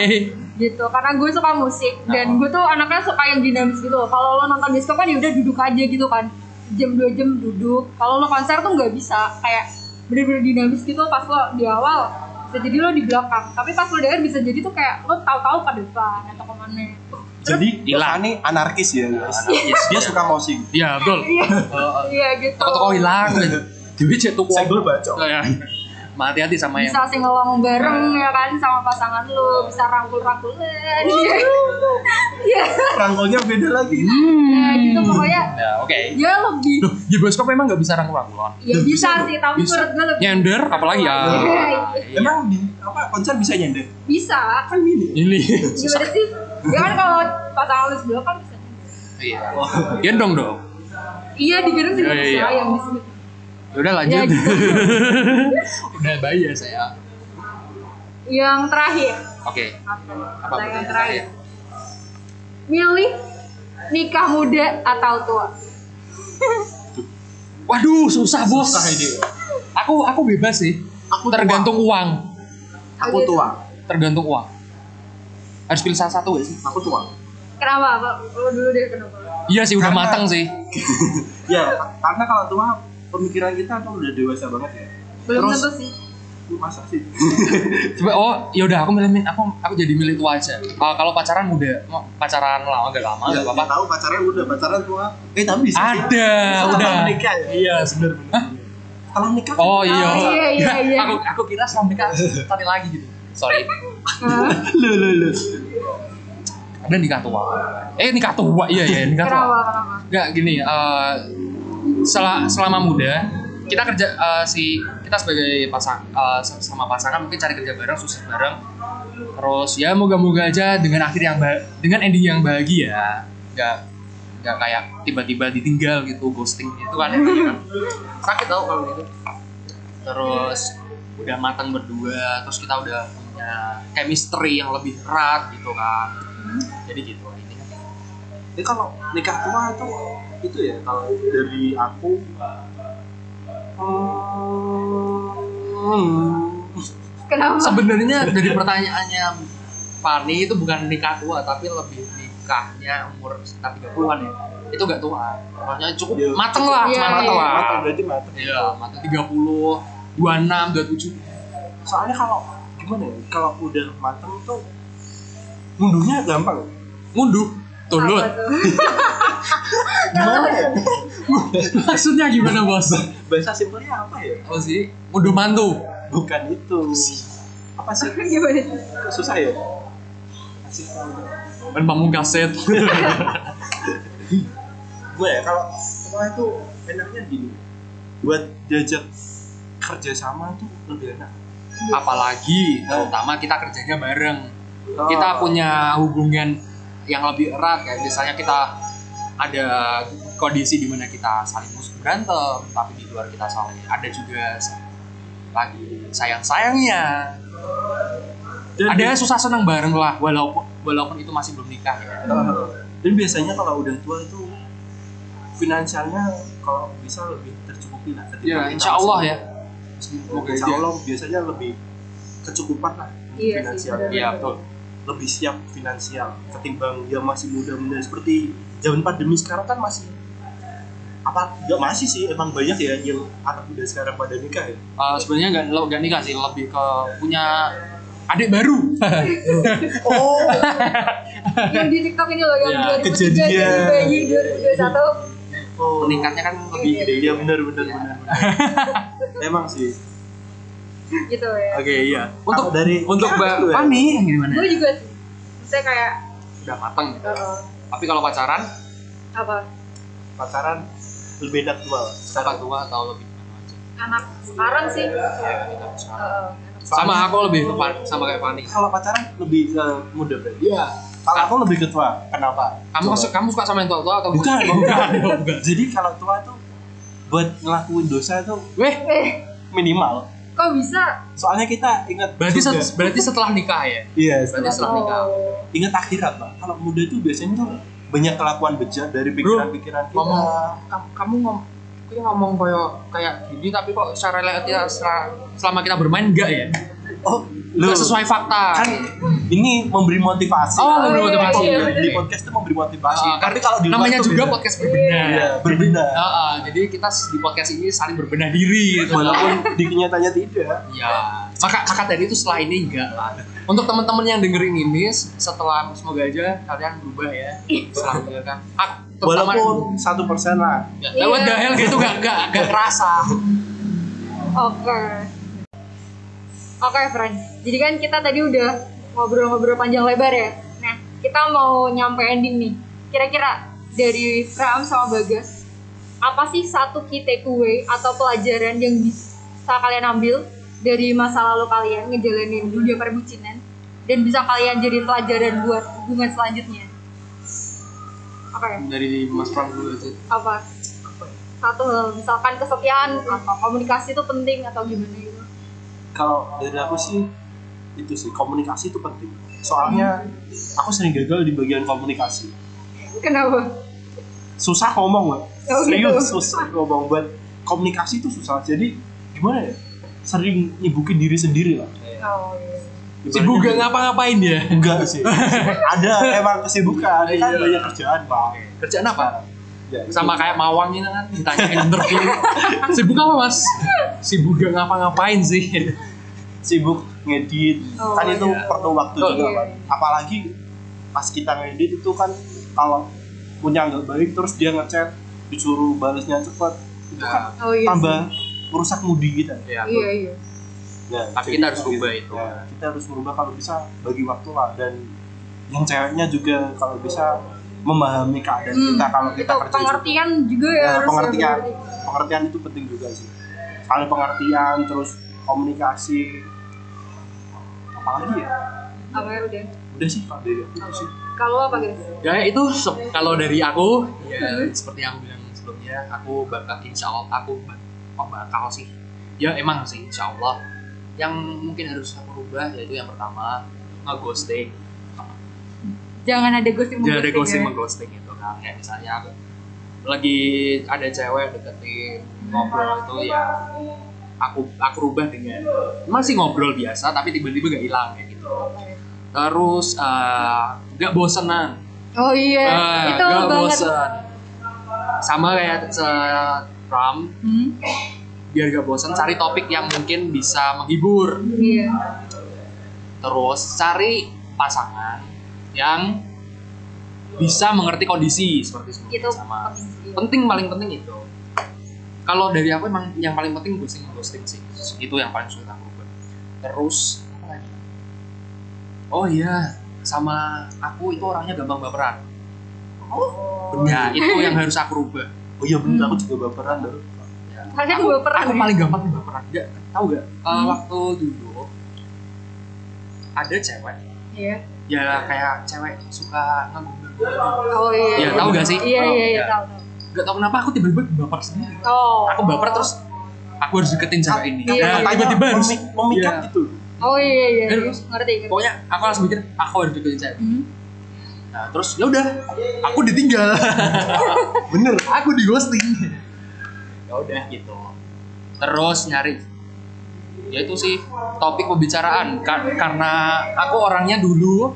A: Gitu, karena gue suka musik
C: Oh.
A: dan gue tuh anaknya suka yang dinamis gitu. Kalau lo nonton bioskop kan ya udah duduk aja gitu kan. Jam dua jam duduk. Kalau lo konser tuh nggak bisa kayak bener-bener dinamis gitu pas lo di awal bisa jadi lo di belakang. Tapi pas lo di akhir bisa jadi tuh kayak lo tahu-tahu ke depan atau kemana.
B: jadi
C: Hilang.
B: ini anarkis ya guys
C: Anarkis.
B: dia suka mousing
C: Iya betul
A: Iya,
C: (laughs) Eh,
A: iya gitu.
C: Toko-toko hilang Dewi cek tuku
B: senggol bacok
C: Ya, Hati-hati sama yang
A: bisa singelong bareng
C: Iya.
A: ya kan sama pasangan lu bisa Iya. rangkul rangkulan ya
B: rangkulnya beda lagi
C: Iya.
A: ya gitu pokoknya
C: Ya, oke.
A: ya lebih
C: Duh, di bioskop emang nggak bisa rangkul-rangkulan.
A: ya bisa sih tapi
C: bisa.
A: menurut gue lebih
C: Nyender, apalagi ya.
A: Iya, iya.
B: emang di apa konser bisa nyender
A: bisa
B: kan gini
C: Ini.
A: gimana sih ya kan kalau pasangan lu sebelah kan bisa
C: Iya. Gendong dong.
A: iya di gedung juga
C: Iya,
A: bisa
C: iya.
A: yang di sini
C: Ya udah lanjut.
A: Ya, gitu.
C: (laughs) Udah bayar saya.
A: yang terakhir
C: Oke.
A: apa
C: pertanyaan
A: pertanyaan terakhir milih nikah muda atau tua
C: Waduh, susah bos. Nah,
B: Susah ini.
C: Aku aku bebas sih.
B: Aku
C: tergantung uang.
B: aku tua
C: Tergantung uang. Harus pilih salah satu gak sih?
B: aku tua
A: kenapa Pak? lu dulu deh kenapa
C: Iya sih, udah
B: Karena-
C: matang sih.
B: ya karena kalau tua pemikiran kita tuh udah dewasa banget ya
A: belum
B: Terus-
A: tentu sih
B: masa sih
C: Coba, oh yaudah aku milih aku aku jadi milih tua aja. Ah, kalau pacaran muda, mau pacaran lama agak lama
B: Ya,
C: nggak apa-apa.
B: tahu pacaran udah pacaran tua eh tapi bisa sih.
C: Oh, iya. Ada,
B: Bisa
C: udah.
B: setelah nikah ya
C: Iya, bener bener.
B: setelah nikah
C: Oh iya.
A: Ah, iya, iya, iya.
C: aku aku kira setelah nikah tadi lagi gitu. Sorry.
A: Hah?
B: lu lu lu
C: Ada nikah tua. Eh nikah tua, iya iya nikah tua.
A: Kenapa? Kenapa?
C: Enggak gini, eh sel- selama muda kita kerja eh, si kita sebagai pasang eh, se- sama pasangan mungkin cari kerja bareng sukses bareng terus ya moga-moga aja dengan akhir yang ba- dengan ending yang bahagia nggak nggak kayak tiba-tiba ditinggal gitu ghosting itu kan sakit tau kalau gitu terus udah matang berdua terus kita udah punya chemistry yang lebih erat gitu kan jadi gitu ini
B: Ini kalau nikah tua itu itu ya kalau dari aku
A: Kenapa?
C: sebenarnya dari pertanyaannya Fani itu bukan nikah tua tapi lebih nikahnya umur sekitar 30-an ya itu gak tua maksudnya cukup
B: Iya.
C: mateng lah
A: Iya,
C: cuman mateng
A: iya.
C: lah
B: matang berarti matang.
C: iya mateng 30 26 27
B: Soalnya kalau gimana ya? Kalau udah matang tuh mundurnya gampang.
C: ngunduh tulut
A: Apa tuh?
B: Gimana ya?
C: (laughs) maksudnya gimana bos
B: Bahasa simpelnya apa ya?
C: apa sih ngunduh mantu
B: Bukan itu. Apa sih?
A: (laughs) Gimana tuh?
B: Susah ya?
C: main pamungkaset
B: Gue ya kalau tua itu enaknya gini. Buat diajak kerjasama tuh lebih enak.
C: apalagi terutama kita kerjanya bareng kita
B: Oh.
C: punya hubungan yang lebih erat kayak misalnya kita ada kondisi di mana kita saling musuh berantem tapi di luar kita saling ada juga lagi sayang sayangnya
B: Dan-
C: ada susah senang bareng lah walaupun walaupun itu masih belum nikah ya.
B: Oh, dan biasanya kalau udah tua itu finansialnya kalau bisa lebih tercukupi lah ketika
C: ya
B: kita
C: insya
B: masih
C: Allah
B: muda.
C: ya semoga
B: insya
C: aja.
B: Allah biasanya lebih kecukupan lah
A: Iya sih,
B: finansial
A: benar.
C: iya betul
B: lebih siap finansial ketimbang dia masih muda-muda seperti zaman pandemi sekarang kan masih apa nggak masih sih emang banyak ya yang anak muda sekarang pada nikah ya
C: Eh, sebenarnya nggak nggak nikah sih lebih ke punya adik (laughs) baru
B: oh
A: yang di TikTok ini loh yang
C: Ya,
A: 2003
B: kejadian.
A: jadi bayi 2021
B: (laughs) oh
C: meningkatnya kan lebih Iya.
B: gede ya benar benar benar benar.
C: (laughs)
B: emang sih
A: gitu ya.
B: oke iya
C: untuk
B: Kalau dari
C: untuk
B: Kak, Anu ya,
C: mbak
B: gimana?
C: Fani yang gimana
A: Gue juga sih. Saya kayak
C: udah mateng gitu.
A: eh,
C: tapi kalau pacaran
A: apa
B: pacaran lebih enak tua
C: apa tua atau lebih gimana aja?
A: anak sekarang sih. Eh,
C: sama aku lebih ke Fan- sama kayak Fani
B: kalau pacaran lebih ke muda berarti iya kalau aku lebih ke tua kenapa
C: Ah. kamu
B: Coba.
C: suka kamu suka sama yang tua tua atau
B: bukan
C: Oh,
B: bukan jadi kalau tua tuh buat ngelakuin dosa tuh
C: weh
A: eh
B: minimal
A: kok bisa?
B: soalnya kita ingat
C: berarti
B: juga.
C: set- berarti setelah nikah ya
B: iya
C: berarti setelah nikah
A: Oh.
B: ingat akhirat lah kalau muda tuh biasanya tuh banyak kelakuan bejat dari
C: Bro,
B: pikiran-pikiran kita
C: ngomong kamu, kamu ngom- kamu ngomong kayak kayak gini tapi kok secara relatif secara- selama kita bermain enggak ya
B: oh lu
C: enggak sesuai fakta
B: kan ini memberi motivasi
C: Oh, memberi
A: motivasi.
B: Di-
A: Iya, bener.
B: di podcast tuh memberi motivasi
C: Ah,
B: tapi kalau di luar
C: namanya
B: tuh
C: juga
B: beda.
C: podcast berbenah
B: Iya, berbeda
C: Ah, ah, jadi kita di podcast ini saling berbenah diri gitu
B: walaupun di kenyataannya tidak
C: Ya, maka maka tadi itu setelah ini enggak lah. Untuk teman-teman yang dengerin ini se- setelah semoga aja kalian berubah ya. Setelah mendengarkan. Ah, terutama-
B: walaupun satu persen lah
C: ya, lewat
A: Iya.
C: dahel gitu gak gak gak kerasa.
A: Oke. Oke, friends. Jadi kan kita tadi udah ngobrol-ngobrol panjang lebar ya. Nah, kita mau nyampe ending nih. Kira-kira dari Ram sama Bagas, apa sih satu key takeaway atau pelajaran yang bisa kalian ambil dari masa lalu kalian ngejalanin dunia perbucinan dan bisa kalian jadi pelajaran buat hubungan selanjutnya? Oke,
C: Dari Mas Pram dulu aja.
A: apa? Satu hal, misalkan kesetiaan atau komunikasi itu penting atau gimana gitu?
B: kalau dari aku sih itu sih komunikasi itu penting soalnya aku sering gagal di bagian komunikasi
A: Kenapa?
B: susah ngomong lah
A: Oh, gitu.
B: serius susah ngomong buat komunikasi itu susah jadi gimana ya sering nyibukin diri sendiri lah
A: Oh, iya.
C: Sibuk gak ngapa-ngapain ya.
B: enggak sih ada emang kesibukan kan
C: Iya.
B: banyak kerjaan bang
C: Kerjaan apa?
B: ya, itu.
C: Sama kayak Mawang ini kan ditanyain interview. Sibuk apa Mas? Sibuk gak ngapa-ngapain sih.
B: sibuk ngedit
A: Oh,
B: kan itu
A: iya.
B: perlu waktu
C: Betul,
B: juga
A: iya,
B: Pak.
A: iya.
B: apalagi pas kita ngedit itu kan kalau punya nggak baik terus dia ngechat disuruh balasnya cepat itu kan
A: Oh iya.
B: tambah merusak moodi kita
C: ya,
A: sih. Iya iya.
B: Nah,
C: Tapi
B: jadi
C: kita harus
B: gitu.
C: rubah itu.
B: Ya, kita harus merubah kalau bisa bagi waktu lah dan yang ceweknya juga kalau bisa memahami keadaan
A: Hmm,
B: kita kalau kita
A: itu
B: kerja juga.
A: pengertian juga ya
B: Nah,
A: harus ya,
B: pengertian
A: pengertian.
B: pengertian itu penting juga sih saling pengertian terus komunikasi apalagi ya
A: Apa ya udah.
B: udah sih kalau dari aku itu sih
A: Kalau apa guys?
C: Ya itu se- kalau dari aku
A: Mm-hmm.
C: ya seperti yang aku bilang sebelumnya aku bakal insya Allah aku bak- kok bakal sih ya emang sih insya Allah yang mungkin harus aku rubah yaitu yang pertama ngeghosting
A: Jangan ada ghosting
C: jangan Iya, ada
A: mengghosting
C: ghosting
A: ya.
C: mengghosting gitu kan kayak misalnya aku lagi ada cewek deketin ngobrol itu ya aku aku rubah dengan masih ngobrol biasa tapi tiba-tiba gak hilang kayak gitu terus eh, gak bosenan
A: Oh iya.
C: Ah,
A: itu
C: gak
A: banget.
C: bosen. Sama kayak se- Ram,
A: Hmm?
C: biar gak bosen cari topik yang mungkin bisa menghibur.
A: Iya.
C: Terus cari pasangan yang bisa mengerti kondisi seperti sebelumnya
A: Itu
C: sama.
A: penting sih.
C: Penting paling penting itu. Kalau dari aku emang yang paling penting ghosting ghosting sih. Itu yang paling sulit aku ubah. Terus apa lagi? Oh iya, sama aku itu orangnya gampang baperan. Oh,
A: iya.
C: ya itu yang harus aku rubah.
B: oh iya bener
A: Hmm.
B: aku juga baperan loh
A: Kalian aku, baperan.
C: aku
A: ya?
C: paling gampang tuh baperan gak tahu gak Eh,
A: Hmm.
C: waktu dulu ada cewek
A: Iya.
C: ya kayak cewek suka nganggur
A: Oh iya.
C: Iya, tahu gak sih?
A: Iya iya iya
C: Iya.
A: tahu tahu.
C: gak tau kenapa aku tiba-tiba baper sendiri
A: Oh.
C: aku baper terus aku harus deketin cewek ini
A: Iya,
C: nah,
A: iya.
C: tiba-tiba harus
B: Memik- memikat
C: Iya.
B: gitu
A: Oh iya iya.
C: Eh,
A: iya. Ngerti. ngerti.
C: pokoknya aku langsung mikir aku harus deketin cewek
A: Hmm?
C: nah, terus ya udah aku ditinggal (laughs)
B: bener
C: aku di ghosting (laughs) ya udah gitu terus nyari ya itu sih topik pembicaraan Ka- karena aku orangnya dulu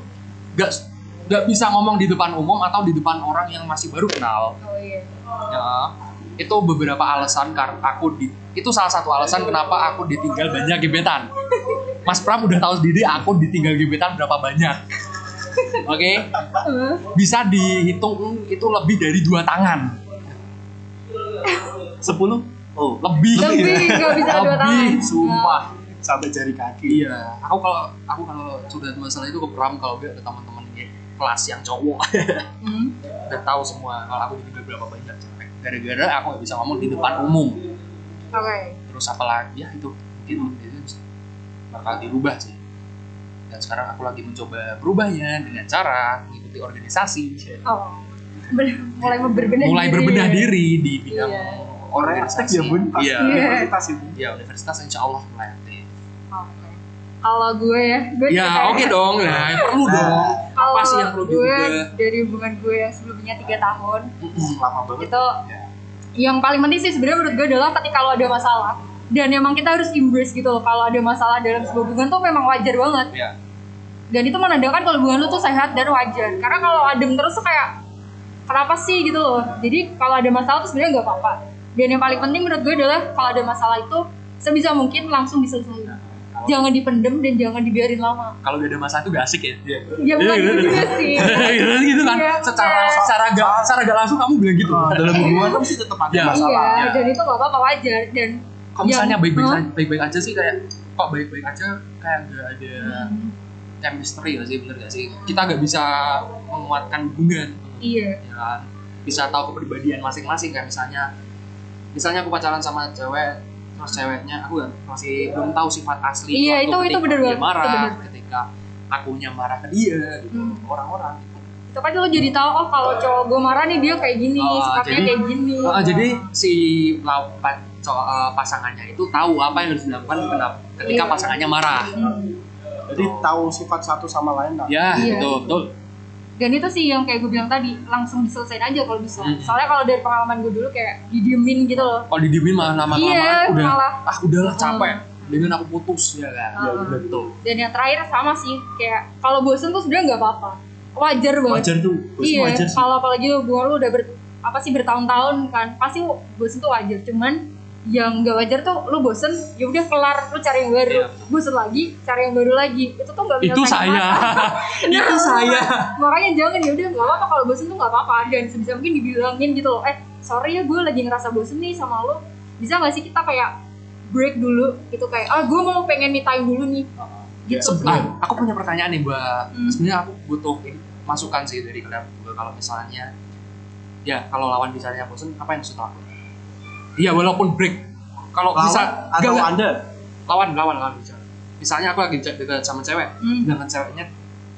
C: gak gak bisa ngomong di depan umum atau di depan orang yang masih baru kenal
A: Oh iya.
C: ya itu beberapa alasan karena aku di itu salah satu alasan kenapa aku ditinggal banyak gebetan Mas Pram udah tahu sendiri aku ditinggal gebetan berapa banyak oke
A: Hah?
C: bisa dihitung itu lebih dari dua tangan
B: sepuluh oh
C: lebih
A: Lebih, nggak bisa dua tangan.
C: Lebih, sumpah
B: sampai jari kaki
C: iya aku kalau aku kalau sudah masalah itu ke pram kalau gak ke teman-teman di kelas yang cowok
A: Hmm?
C: udah tahu semua kalau aku ditinggal berapa banyak cewek gara-gara aku nggak bisa ngomong di depan umum
A: Oke.
C: terus apa lagi ya itu mungkin itu bisa- bakal dirubah sih dan sekarang aku lagi mencoba berubahnya dengan cara mengikuti organisasi
A: Oh. Ber- mulai berbenah
C: mulai
A: diri.
C: berbenah diri di bidang
A: Iya.
B: orang aktif
C: organisasi
B: ya bun pas
C: Iya.
B: universitas ya, itu
C: Iya, universitas insya Allah mulai aktif
A: Oke. Kalau gue ya, gue
C: ya
A: ceritain.
C: oke dong nah
A: gitu.
C: perlu dong
A: Kalau
C: apa sih yang perlu
A: gue
C: dirubah
A: dari hubungan gue yang sebelumnya tiga tahun
B: lama banget
A: itu
C: Ya.
A: yang paling penting sih sebenarnya menurut gue adalah ketika lo ada masalah dan emang kita harus embrace gitu loh kalau ada masalah dalam sebuah hubungan tuh memang wajar banget
C: ya
A: dan itu menandakan kalau hubungan lu tuh sehat dan wajar karena kalau adem terus tuh kayak kenapa sih gitu loh jadi kalau ada masalah tuh sebenarnya nggak apa-apa dan yang paling penting menurut gue adalah kalau ada masalah itu sebisa mungkin langsung diselesaikan jangan dipendem dan jangan dibiarin lama
C: kalau gak ada masalah itu gak asik ya Iya.
A: ya bukan
C: Iya,
A: gitu
C: iya,
A: juga
C: (laughs)
A: sih
C: Iya, gitu kan
A: Iya.
C: secara secara gak secara gak langsung kamu bilang gitu
B: Oh, dalam hubungan pasti tetap ada
C: Iya.
B: masalah
A: iya
C: ya.
A: dan itu nggak apa-apa wajar dan
C: kalau misalnya
A: yang-
C: baik-baik
A: Iya. Hah?
C: saja- baik-baik aja sih kayak kok baik-baik aja kayak gak ada chemistry gak sih bener gak sih kita gak bisa menguatkan hubungan
A: iya
C: ya kan? bisa tahu kepribadian masing-masing kayak misalnya misalnya aku pacaran sama cewek terus ceweknya aku gak- masih belum tahu sifat asli
A: Iya, itu-
C: waktu
A: itu
C: ketika
A: bener
C: dia
A: banget, itu
C: marah
A: bener.
C: ketika akunya marah ke dia gitu
A: Hmm.
C: orang-orang gitu.
A: itu kan lo jadi tahu oh kalau cowok gue marah nih dia kayak gini
C: Oh,
A: sikapnya
C: jadi-
A: kayak gini
C: Uh, jadi si law- pa- co- uh, pasangannya itu tahu apa yang harus dilakukan kenapa- ketika
A: Iya.
C: pasangannya marah
A: Hmm.
B: jadi tahu sifat satu sama lain lah
C: ya
A: Iya.
C: betul betul
A: dan itu sih yang kayak gue bilang tadi langsung diselesain aja kalau bisa
C: Hmm.
A: soalnya kalau dari pengalaman gue dulu kayak didiemin gitu loh
C: kalau didiemin malah lama kelamaan
A: Iya,
C: udah
A: malah.
C: ah udahlah capek
A: Hmm.
C: dengan aku putus ya kan
A: Iya,
C: betul
A: bener. dan yang terakhir sama sih kayak kalau bosen tuh sebenarnya nggak apa-apa wajar banget
B: wajar tuh pasti
A: iya
B: wajar sih
A: kalau apalagi lo gue lu udah ber, apa sih bertahun-tahun kan pasti bosen tuh wajar cuman yang nggak wajar tuh lu bosen ya udah kelar lu cari yang baru
C: Iya.
A: bosen lagi cari yang baru lagi itu tuh nggak bisa
C: Itu saya. (laughs) Itu saya.
A: makanya jangan ya udah nggak apa-apa kalau bosen tuh nggak apa-apa dan sebisa mungkin dibilangin gitu loh eh sorry ya gue lagi ngerasa bosen nih sama lo bisa nggak sih kita kayak break dulu gitu kayak ah gue mau pengen me time dulu nih gitu
C: Seb- ah, aku punya pertanyaan nih mbak
A: Hmm.
C: sebenarnya aku butuh ini masukan sih dari kalian berdua kalau misalnya ya kalau lawan misalnya bosen apa yang harus dilakukan iya walaupun break kalau
B: Lawan
C: bisa
B: atau
C: enggak, enggak.
B: anda
C: lawan lawan lawan bicara misalnya aku lagi de- dekat sama cewek
A: Hmm.
C: dengan ceweknya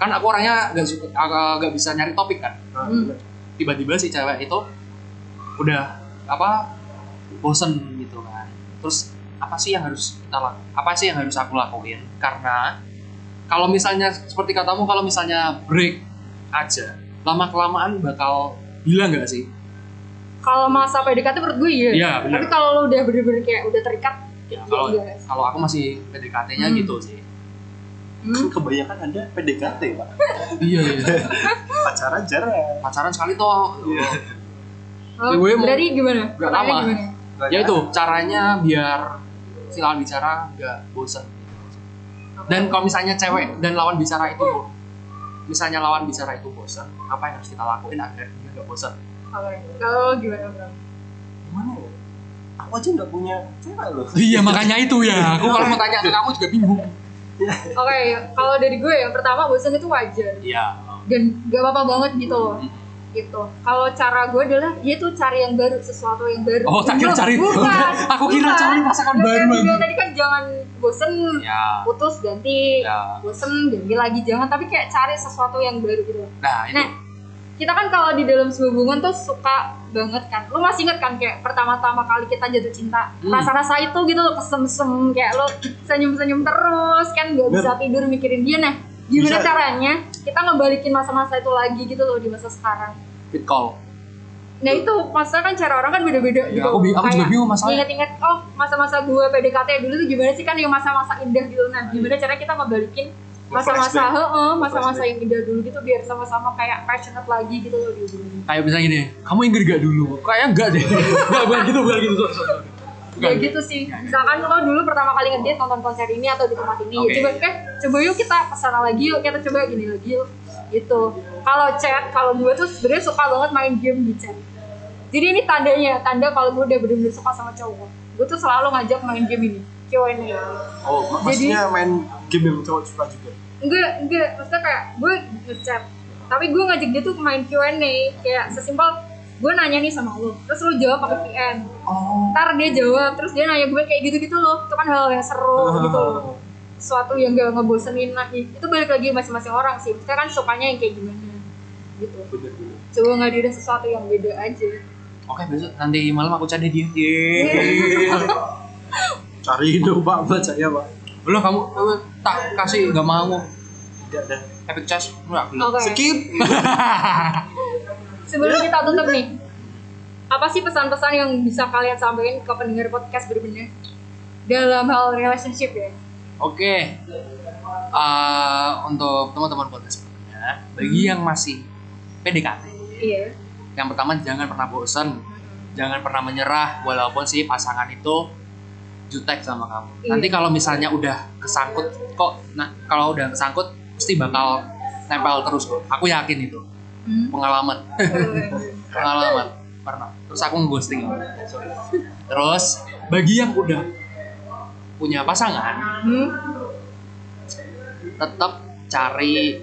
C: kan aku orangnya nggak suka agak- nggak bisa nyari topik kan
B: Nah,
A: Hmm.
B: bener.
C: tiba-tiba si cewek itu udah apa bosen gitu kan terus apa sih yang harus kita lakukan apa sih yang harus aku lakuin karena kalau misalnya seperti katamu kalau misalnya break aja lama kelamaan bakal bilang nggak sih
A: kalau masa PDKT menurut gue iya
C: Iya, benar.
A: tapi kalau lo udah bener-bener kayak udah terikat ya
C: Ya, kalau
A: udah.
C: kalau aku masih PDKT-nya
A: Hmm.
C: gitu sih
A: Hmm.
B: kebanyakan anda PDKT pak
C: iya iya
B: pacaran jarang
C: (laughs) pacaran sekali toh
B: Iya.
A: Oh,
C: Ya, gue mau-
A: dari gimana?
C: Gak
A: Pertanyaannya
C: lama.
A: gimana?
C: ya itu caranya biar si lawan bicara nggak bosan dan kalau misalnya cewek dan lawan bicara itu misalnya lawan bicara itu bosan apa yang harus kita lakuin agar dia nggak bosan
A: Apa ya? Kalau gimana Bram?
B: gimana ya aku aja nggak punya cewek loh
C: iya makanya itu ya aku kalau mau tanya ke kamu juga bingung
A: Oke, kalau dari gue yang pertama bosan itu wajar
C: iya
A: dan gak apa-apa banget gitu loh. Gitu. Kalau cara gue adalah yaitu cari yang baru, sesuatu yang baru.
C: Oh, tak kira
A: Bukan,
C: cari-
A: Bukan.
C: (laughs) Aku kira
A: bukan.
C: cari pasangan
A: Yang
C: baru
A: kayak
C: lagi.
A: bilang Tadi kan jangan bosen
C: ya
A: putus ganti,
C: Ya.
A: bosen ganti lagi jangan tapi kayak cari sesuatu yang baru gitu. loh.
C: nah itu
A: Nah, kita kan kalau di dalam sebuah hubungan tuh suka banget kan. Lu masih inget kan kayak pertama-tama kali kita jatuh cinta,
C: Hmm.
A: rasa-rasa itu gitu loh kesem-sem kayak lo senyum-senyum terus kan gak bisa tidur mikirin dia nah. Gimana
B: Bisa.
A: caranya kita ngebalikin masa-masa itu lagi gitu loh di masa sekarang.
C: fit call
A: Nah itu maksudnya kan cara orang kan beda-beda
C: Ya,
A: gitu.
C: aku bi- aku juga
A: Kayak
C: bingung masalahnya.
A: Ingat-ingat oh masa-masa gue PDKT dulu tuh gimana sih kan yang masa-masa indah gitu. Nah gimana cara kita ngebalikin masa-masa
B: Flashback.
A: heeh, masa-masa
B: Flashback.
A: yang indah dulu gitu biar sama-sama kayak passionate lagi gitu loh di hubungan.
C: kayak misalnya gini kamu ingin gak dulu kayaknya enggak deh (laughs) enggak bukan gitu bukan gitu sorry, sorry, sorry. Bukan.
A: Ya gitu sih. Misalkan lo dulu pertama kali ngedate nonton konser ini atau di tempat ini, ya
C: Oke.
A: coba eh coba yuk kita kesana lagi yuk, kita coba gini lagi yuk. Gitu. Kalau chat, kalau gue tuh sebenarnya suka banget main game di chat. Jadi ini tandanya, tanda kalau gue udah bener-bener suka sama cowok. Gue tuh selalu ngajak main game ini, Q&A.
B: (laughs) oh mak-
A: Jadi-
B: maksudnya main game yang cowok suka juga
A: Enggak, enggak, maksudnya kayak gue ngechat. Tapi gue ngajak dia tuh main Q&A, kayak sesimpel gue nanya nih sama lo, terus lo jawab pakai PN.
C: oh
A: ntar dia jawab terus dia nanya gue kayak gitu gitu loh itu kan hal yang seru
C: Ah.
A: gitu loh suatu yang gak ngebosenin lagi itu balik lagi masing-masing orang sih kita kan sukanya yang kayak gimana gitu
B: bener-bener
A: coba ngadirin sesuatu yang beda aja
C: oke besok nanti malam aku cari dia
A: Iya.
D: Cari hidup pak baca
B: saya pak
C: belum kamu eh, tak kasih nggak mau
B: tidak ada
C: epic charge nggak belum
A: oke sebelum kita tutup nih apa sih pesan-pesan yang bisa kalian sampaikan ke pendengar podcast berbenah dalam hal relationship ya
C: Oke, Eh, untuk teman-teman podcast berbenah, bagi yang masih PDKT,
A: iya
C: yang pertama jangan pernah bosen, jangan pernah menyerah walaupun si pasangan itu jutek sama kamu.
A: Iya.
C: Nanti kalau misalnya udah kesangkut kok, nah kalau udah kesangkut pasti bakal nempel terus kok. Aku yakin itu
A: Hmm.
C: (laughs) pengalaman, pengalaman pernah. Terus aku nge-ghosting. Sorry. Terus bagi yang udah punya pasangan,
A: Hmm.
C: tetap cari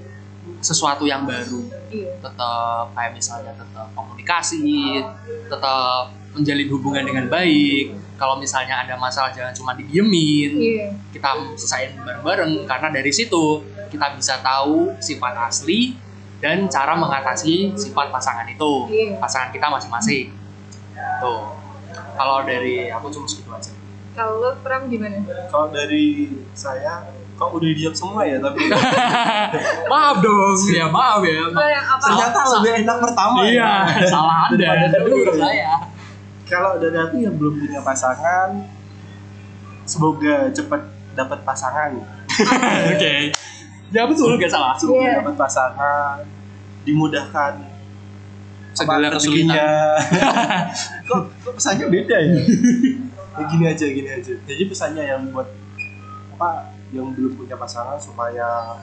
C: sesuatu yang baru
A: iya
C: tetap kayak misalnya tetap komunikasi tetap menjalin hubungan dengan baik kalau misalnya ada masalah jangan cuma didiemin
A: iya
C: kita selesaiin bareng-bareng karena dari situ kita bisa tahu sifat asli dan cara mengatasi sifat pasangan itu
A: Iya.
C: pasangan kita masing-masing tuh kalau dari aku cuma segitu aja
A: kalau lo, Pram gimana
B: kalau dari saya kok udah diam semua ya
C: (laughs)
B: tapi
C: maaf dong ya maaf ya
A: Lo yang apa
B: ternyata lebih enak pertama
C: iya
B: ya (laughs)
C: salah anda
B: Daripada
C: menurut
B: dulu.
C: saya
B: kalau dari aku yang belum punya pasangan semoga cepat dapat pasangan
C: (laughs) Oke. Ya betul gak salah.
B: semoga
A: Iya.
B: dapat pasangan dimudahkan apa,
C: Segala
B: rezekinya.
C: kesulitan.
B: kok, kok pesannya beda ya ya gini aja gini aja jadi pesannya yang buat apa yang belum punya pasangan supaya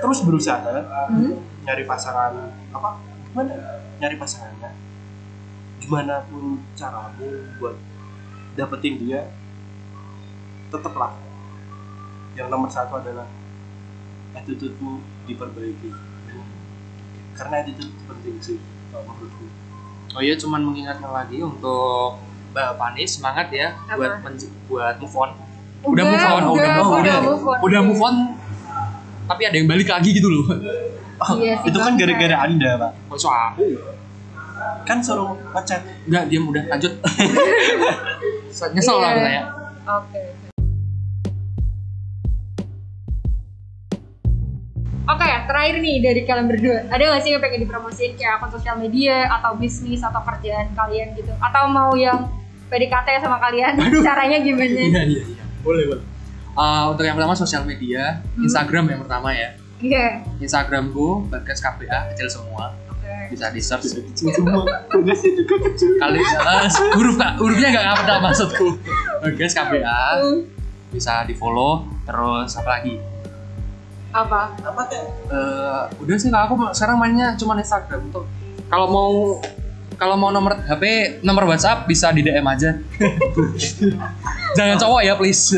B: terus berusaha
A: Hmm?
B: nyari pasangan apa gimana nyari pasangannya gimana pun caramu buat dapetin dia tetaplah yang nomor satu adalah attitude-mu diperbaiki karena attitude penting sih kalau menurutku
C: Oh iya, cuman mengingatkan lagi untuk Mbak Fani semangat ya
A: Apa?
C: buat menj- buat move on.
A: Udah,
C: move on, oh,
A: udah,
C: udah, move on,
A: udah
C: udah,
A: move on.
C: udah move on. Tapi ada yang balik lagi gitu loh.
A: Iya sih,
B: itu kan
A: bangsa.
B: gara-gara anda pak
C: Kok Oh, soal?
B: kan suruh ngechat
C: Enggak, diam udah
A: (laughs)
C: lanjut. (laughs) Nyesel lah
A: Iya.
C: kita ya.
A: Oke. Oke, terakhir nih dari kalian berdua. Ada nggak sih yang pengen dipromosiin kayak akun sosial media atau bisnis atau kerjaan kalian gitu? Atau mau yang PDKT sama kalian? Caranya gimana?
C: Iya, iya, iya.
B: boleh boleh
C: Eh, untuk yang pertama sosial media,
A: Hmm.
C: Instagram yang pertama ya.
A: Iya.
C: Instagramku Bagas KBA kecil semua.
A: Oke.
C: Bisa di search.
B: kecil semua bagasi juga kecil
C: Kali eh, huruf Kak, hurufnya enggak apa-apa maksudku. Bagas KBA
A: Hmm,
C: bisa di-follow terus apa lagi?
A: Apa?
B: apa teh
C: Eh, udah sih kalau aku sekarang mainnya cuma Instagram tuh. Kalau mau kalau mau nomor HP, nomor WhatsApp bisa di DM aja. (laughs) Jangan cowok ya please.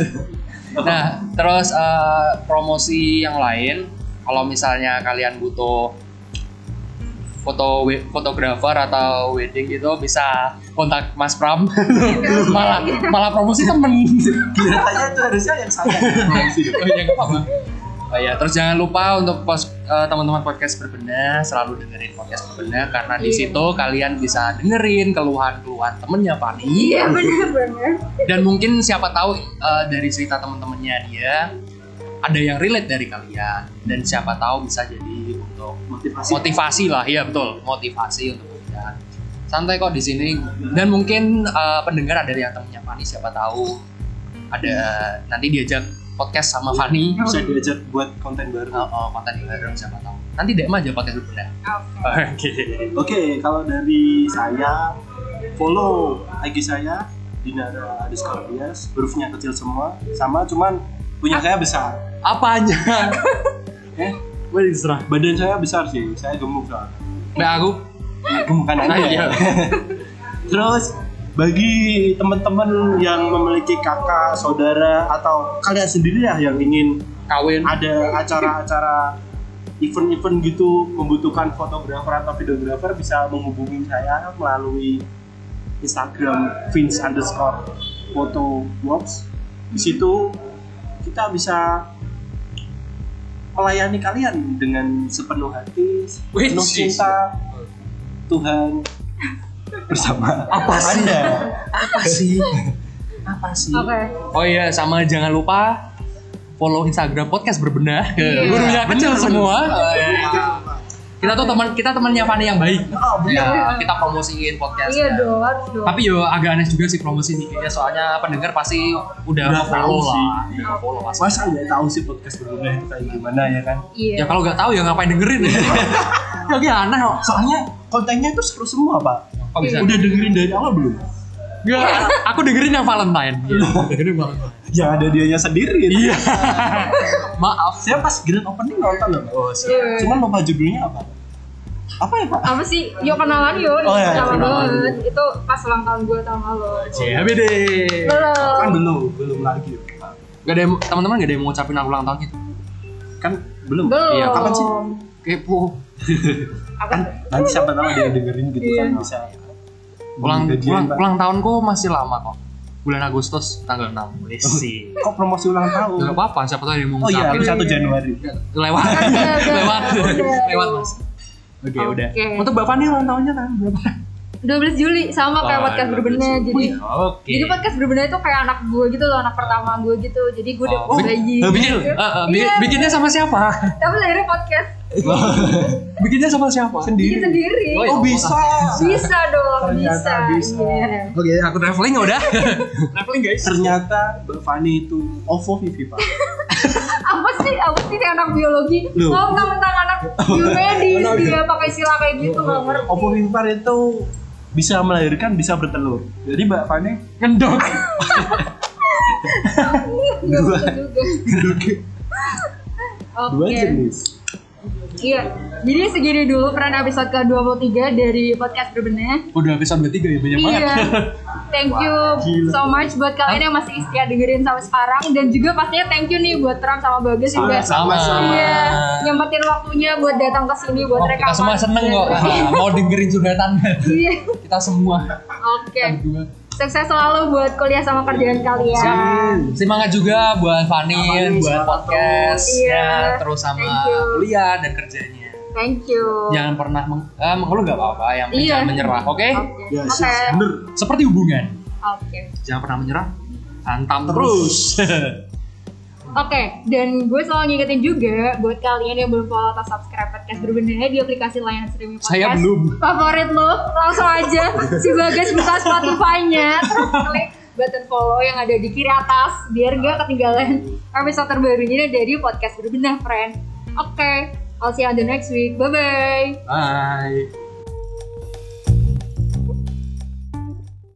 C: Nah, terus eh, promosi yang lain, kalau misalnya kalian butuh foto we- fotografer atau wedding gitu bisa kontak Mas Pram. (laughs) malah malah promosi temen.
B: katanya itu harusnya yang salah
A: gitu.
C: Oh iya, nggak apa-apa. Oh iya, terus jangan lupa untuk pos- eh, teman-teman podcast berbenah selalu dengerin podcast berbenah karena di
A: Iya.
C: situ kalian bisa dengerin keluhan-keluhan temennya Fani
A: Iya (laughs) bener bener.
C: dan mungkin siapa tahu eh, dari cerita teman-temannya dia ada yang relate dari kalian dan siapa tahu bisa jadi untuk
B: motivasi
C: motivasi lah ya betul motivasi untuk kalian santai kok di sini dan mungkin eh, pendengar ada yang temennya Fani siapa tahu ada nanti diajak podcast sama Fani
B: bisa diajak buat konten baru
C: Oh, oh, konten bareng siapa tahu. Nanti DM aja podcast berbeda.
A: Oke.
B: Oke, kalau dari saya follow IG saya Dinara underscore Bias, hurufnya kecil semua, sama cuman punya saya besar.
C: Apanya? (laughs)
B: Eh,
C: Gue diserah.
B: badan saya besar sih, saya gemuk soalnya.
C: Nah, aku
B: Ya, gemukan aja.
C: Ah, iya.
B: Terus bagi teman-teman yang memiliki kakak, saudara atau kalian sendiri lah yang ingin
C: kawin.
B: ada acara-acara event-event gitu membutuhkan fotografer atau videografer bisa menghubungi saya melalui Instagram Vince underscore photo works di situ kita bisa melayani kalian dengan sepenuh hati,
C: Wih,
B: sepenuh
C: sih.
B: cinta Tuhan bersama
C: Apa sih?
B: Anda.
C: Apa sih? Apa sih?
A: Oke.
C: Oh iya, sama jangan lupa follow Instagram podcast berbenah.
A: Iya.
C: Gurunya kecil semua. Oh, iya. Kita tuh teman kita temannya Fani yang baik.
B: Oh,
A: (laughs)
B: bener.
C: Ya, kita promosiin podcast.
A: Iya dong, harus dong.
C: Tapi yo agak aneh juga sih promosi nih kayaknya soalnya pendengar pasti udah,
B: Udah tahu
C: follow
B: sih.
C: lah. Udah follow pasti.
B: Masa nggak tahu sih podcast berbunga itu kayak gimana ya kan?
C: Ya
A: Iya.
C: kalau nggak tahu ya ngapain dengerin
B: Iya.
C: (laughs) ya. Kayaknya aneh kok.
B: Soalnya kontennya itu seru semua pak.
C: Kok bisa?
A: Iya.
B: Udah dengerin dari awal belum? Iya.
C: Enggak, aku dengerin yang Valentine. Iya. dengerin Valentine.
B: Ya ada dianya sendiri.
C: Iya. Maaf.
B: Saya pas grand opening nonton loh. Oh,
A: Iya.
B: Cuman lupa judulnya apa? Apa ya pak?
A: Apa sih? Yuk kenalan yuk.
B: Oh, iya,
A: Sama
B: kenalan.
A: banget. Itu pas ulang tahun gue sama lo.
B: Iya.
C: CBD.
A: Belum.
B: Kan belum, belum lagi. Pak.
C: Gak Iya. ada yang- teman-teman gak ada yang mau ngucapin aku ulang tahun gitu.
B: Kan belum.
A: Belum.
C: Iya,
B: kapan sih?
C: Kepo.
A: Apa?
B: Kan nanti siapa tahu ada yang dengerin gitu
A: Iya.
B: kan bisa.
C: Ulang,
B: Jadi,
C: ulang,
B: Pak.
C: ulang tahunku masih lama kok. Bulan Agustus tanggal 6. Sih.
B: Kok promosi ulang tahun?
C: Gak apa-apa, siapa tahu ada yang mau
B: Oh iya,
C: ngucapin.
B: satu Januari.
C: Lewat.
A: Ada, ada.
C: lewat.
A: Ada.
C: lewat, Mas. Oke, udah.
A: Oke.
C: Untuk Bapak nih ulang tahunnya tanggal berapa?
A: 12 Juli sama kayak podcast berbenah jadi
C: Oke.
A: jadi podcast berbenah itu kayak anak gue gitu loh anak pertama gue gitu jadi gue udah
C: Oh,
A: bayi
C: bikin,
A: gitu.
C: eh, eh, bi-
A: Iya.
C: bikinnya
A: (laughs)
C: sama siapa?
A: tapi akhirnya podcast
C: Bikinnya sama siapa?
A: bikin sendiri
C: Oh, iya.
B: Oh bisa.
A: bisa dong bisa
B: Ternyata bisa.
A: Iya.
C: Oke, aku traveling
A: (laughs)
C: udah. traveling guys.
B: Ternyata Mbak Fani itu OVO Vivi pak.
A: apa sih apa sih nih anak biologi
B: Loh.
A: oh mentang-mentang anak biomedis dia pakai istilah kayak gitu nggak ngerti
B: OVO Vivi Pak itu bisa melahirkan bisa bertelur jadi mbak
A: (laughs)
B: Fani
C: ngendok
A: Nggak
B: Dua.
A: bisa juga.
B: dua
A: Oke.
B: jenis
A: Iya. Jadi segini dulu peran episode ke-23 dari podcast berbenah.
C: udah episode 23 ya banyak banget
A: Iya. Thank you so much buat kalian yang masih setia dengerin sampai sekarang dan juga pastinya thank you nih buat Ram sama Bagus juga.
C: Sama-sama.
A: Iya, nyempetin waktunya buat datang ke sini buat
C: Oh,
A: rekaman.
C: kita semua seneng kok Ah,
A: Iya.
C: mau dengerin curhatan (laughs)
A: Iya.
C: kita semua
A: Oke.
C: Dua.
A: Sukses selalu buat kuliah sama kerjaan kalian.
C: semangat juga buat Fanny, buat podcast,
A: Iya.
C: ya, terus sama
A: Thank you.
C: kuliah dan kerjanya.
A: Thank you.
C: Jangan pernah meng, eh, mengeluh gak apa-apa, yang penting
A: Iya.
C: jangan menyerah, oke?
A: Oke.
B: ya
A: Oke.
B: sih bener
C: Seperti hubungan,
A: Oke.
C: jangan pernah menyerah, hantam terus.
A: (laughs) Oke, dan gue selalu ngingetin juga buat kalian yang belum follow atau subscribe podcast berbenah ya, di aplikasi layanan streaming podcast.
C: Saya belum.
A: Favorit lo, langsung
C: (laughs)
A: aja si Bagas buka Spotify-nya, terus klik button follow yang ada di kiri atas biar gak ketinggalan episode terbarunya dari podcast berbenah, friend. Oke, I'll see you on the next week. Bye bye.
C: Bye.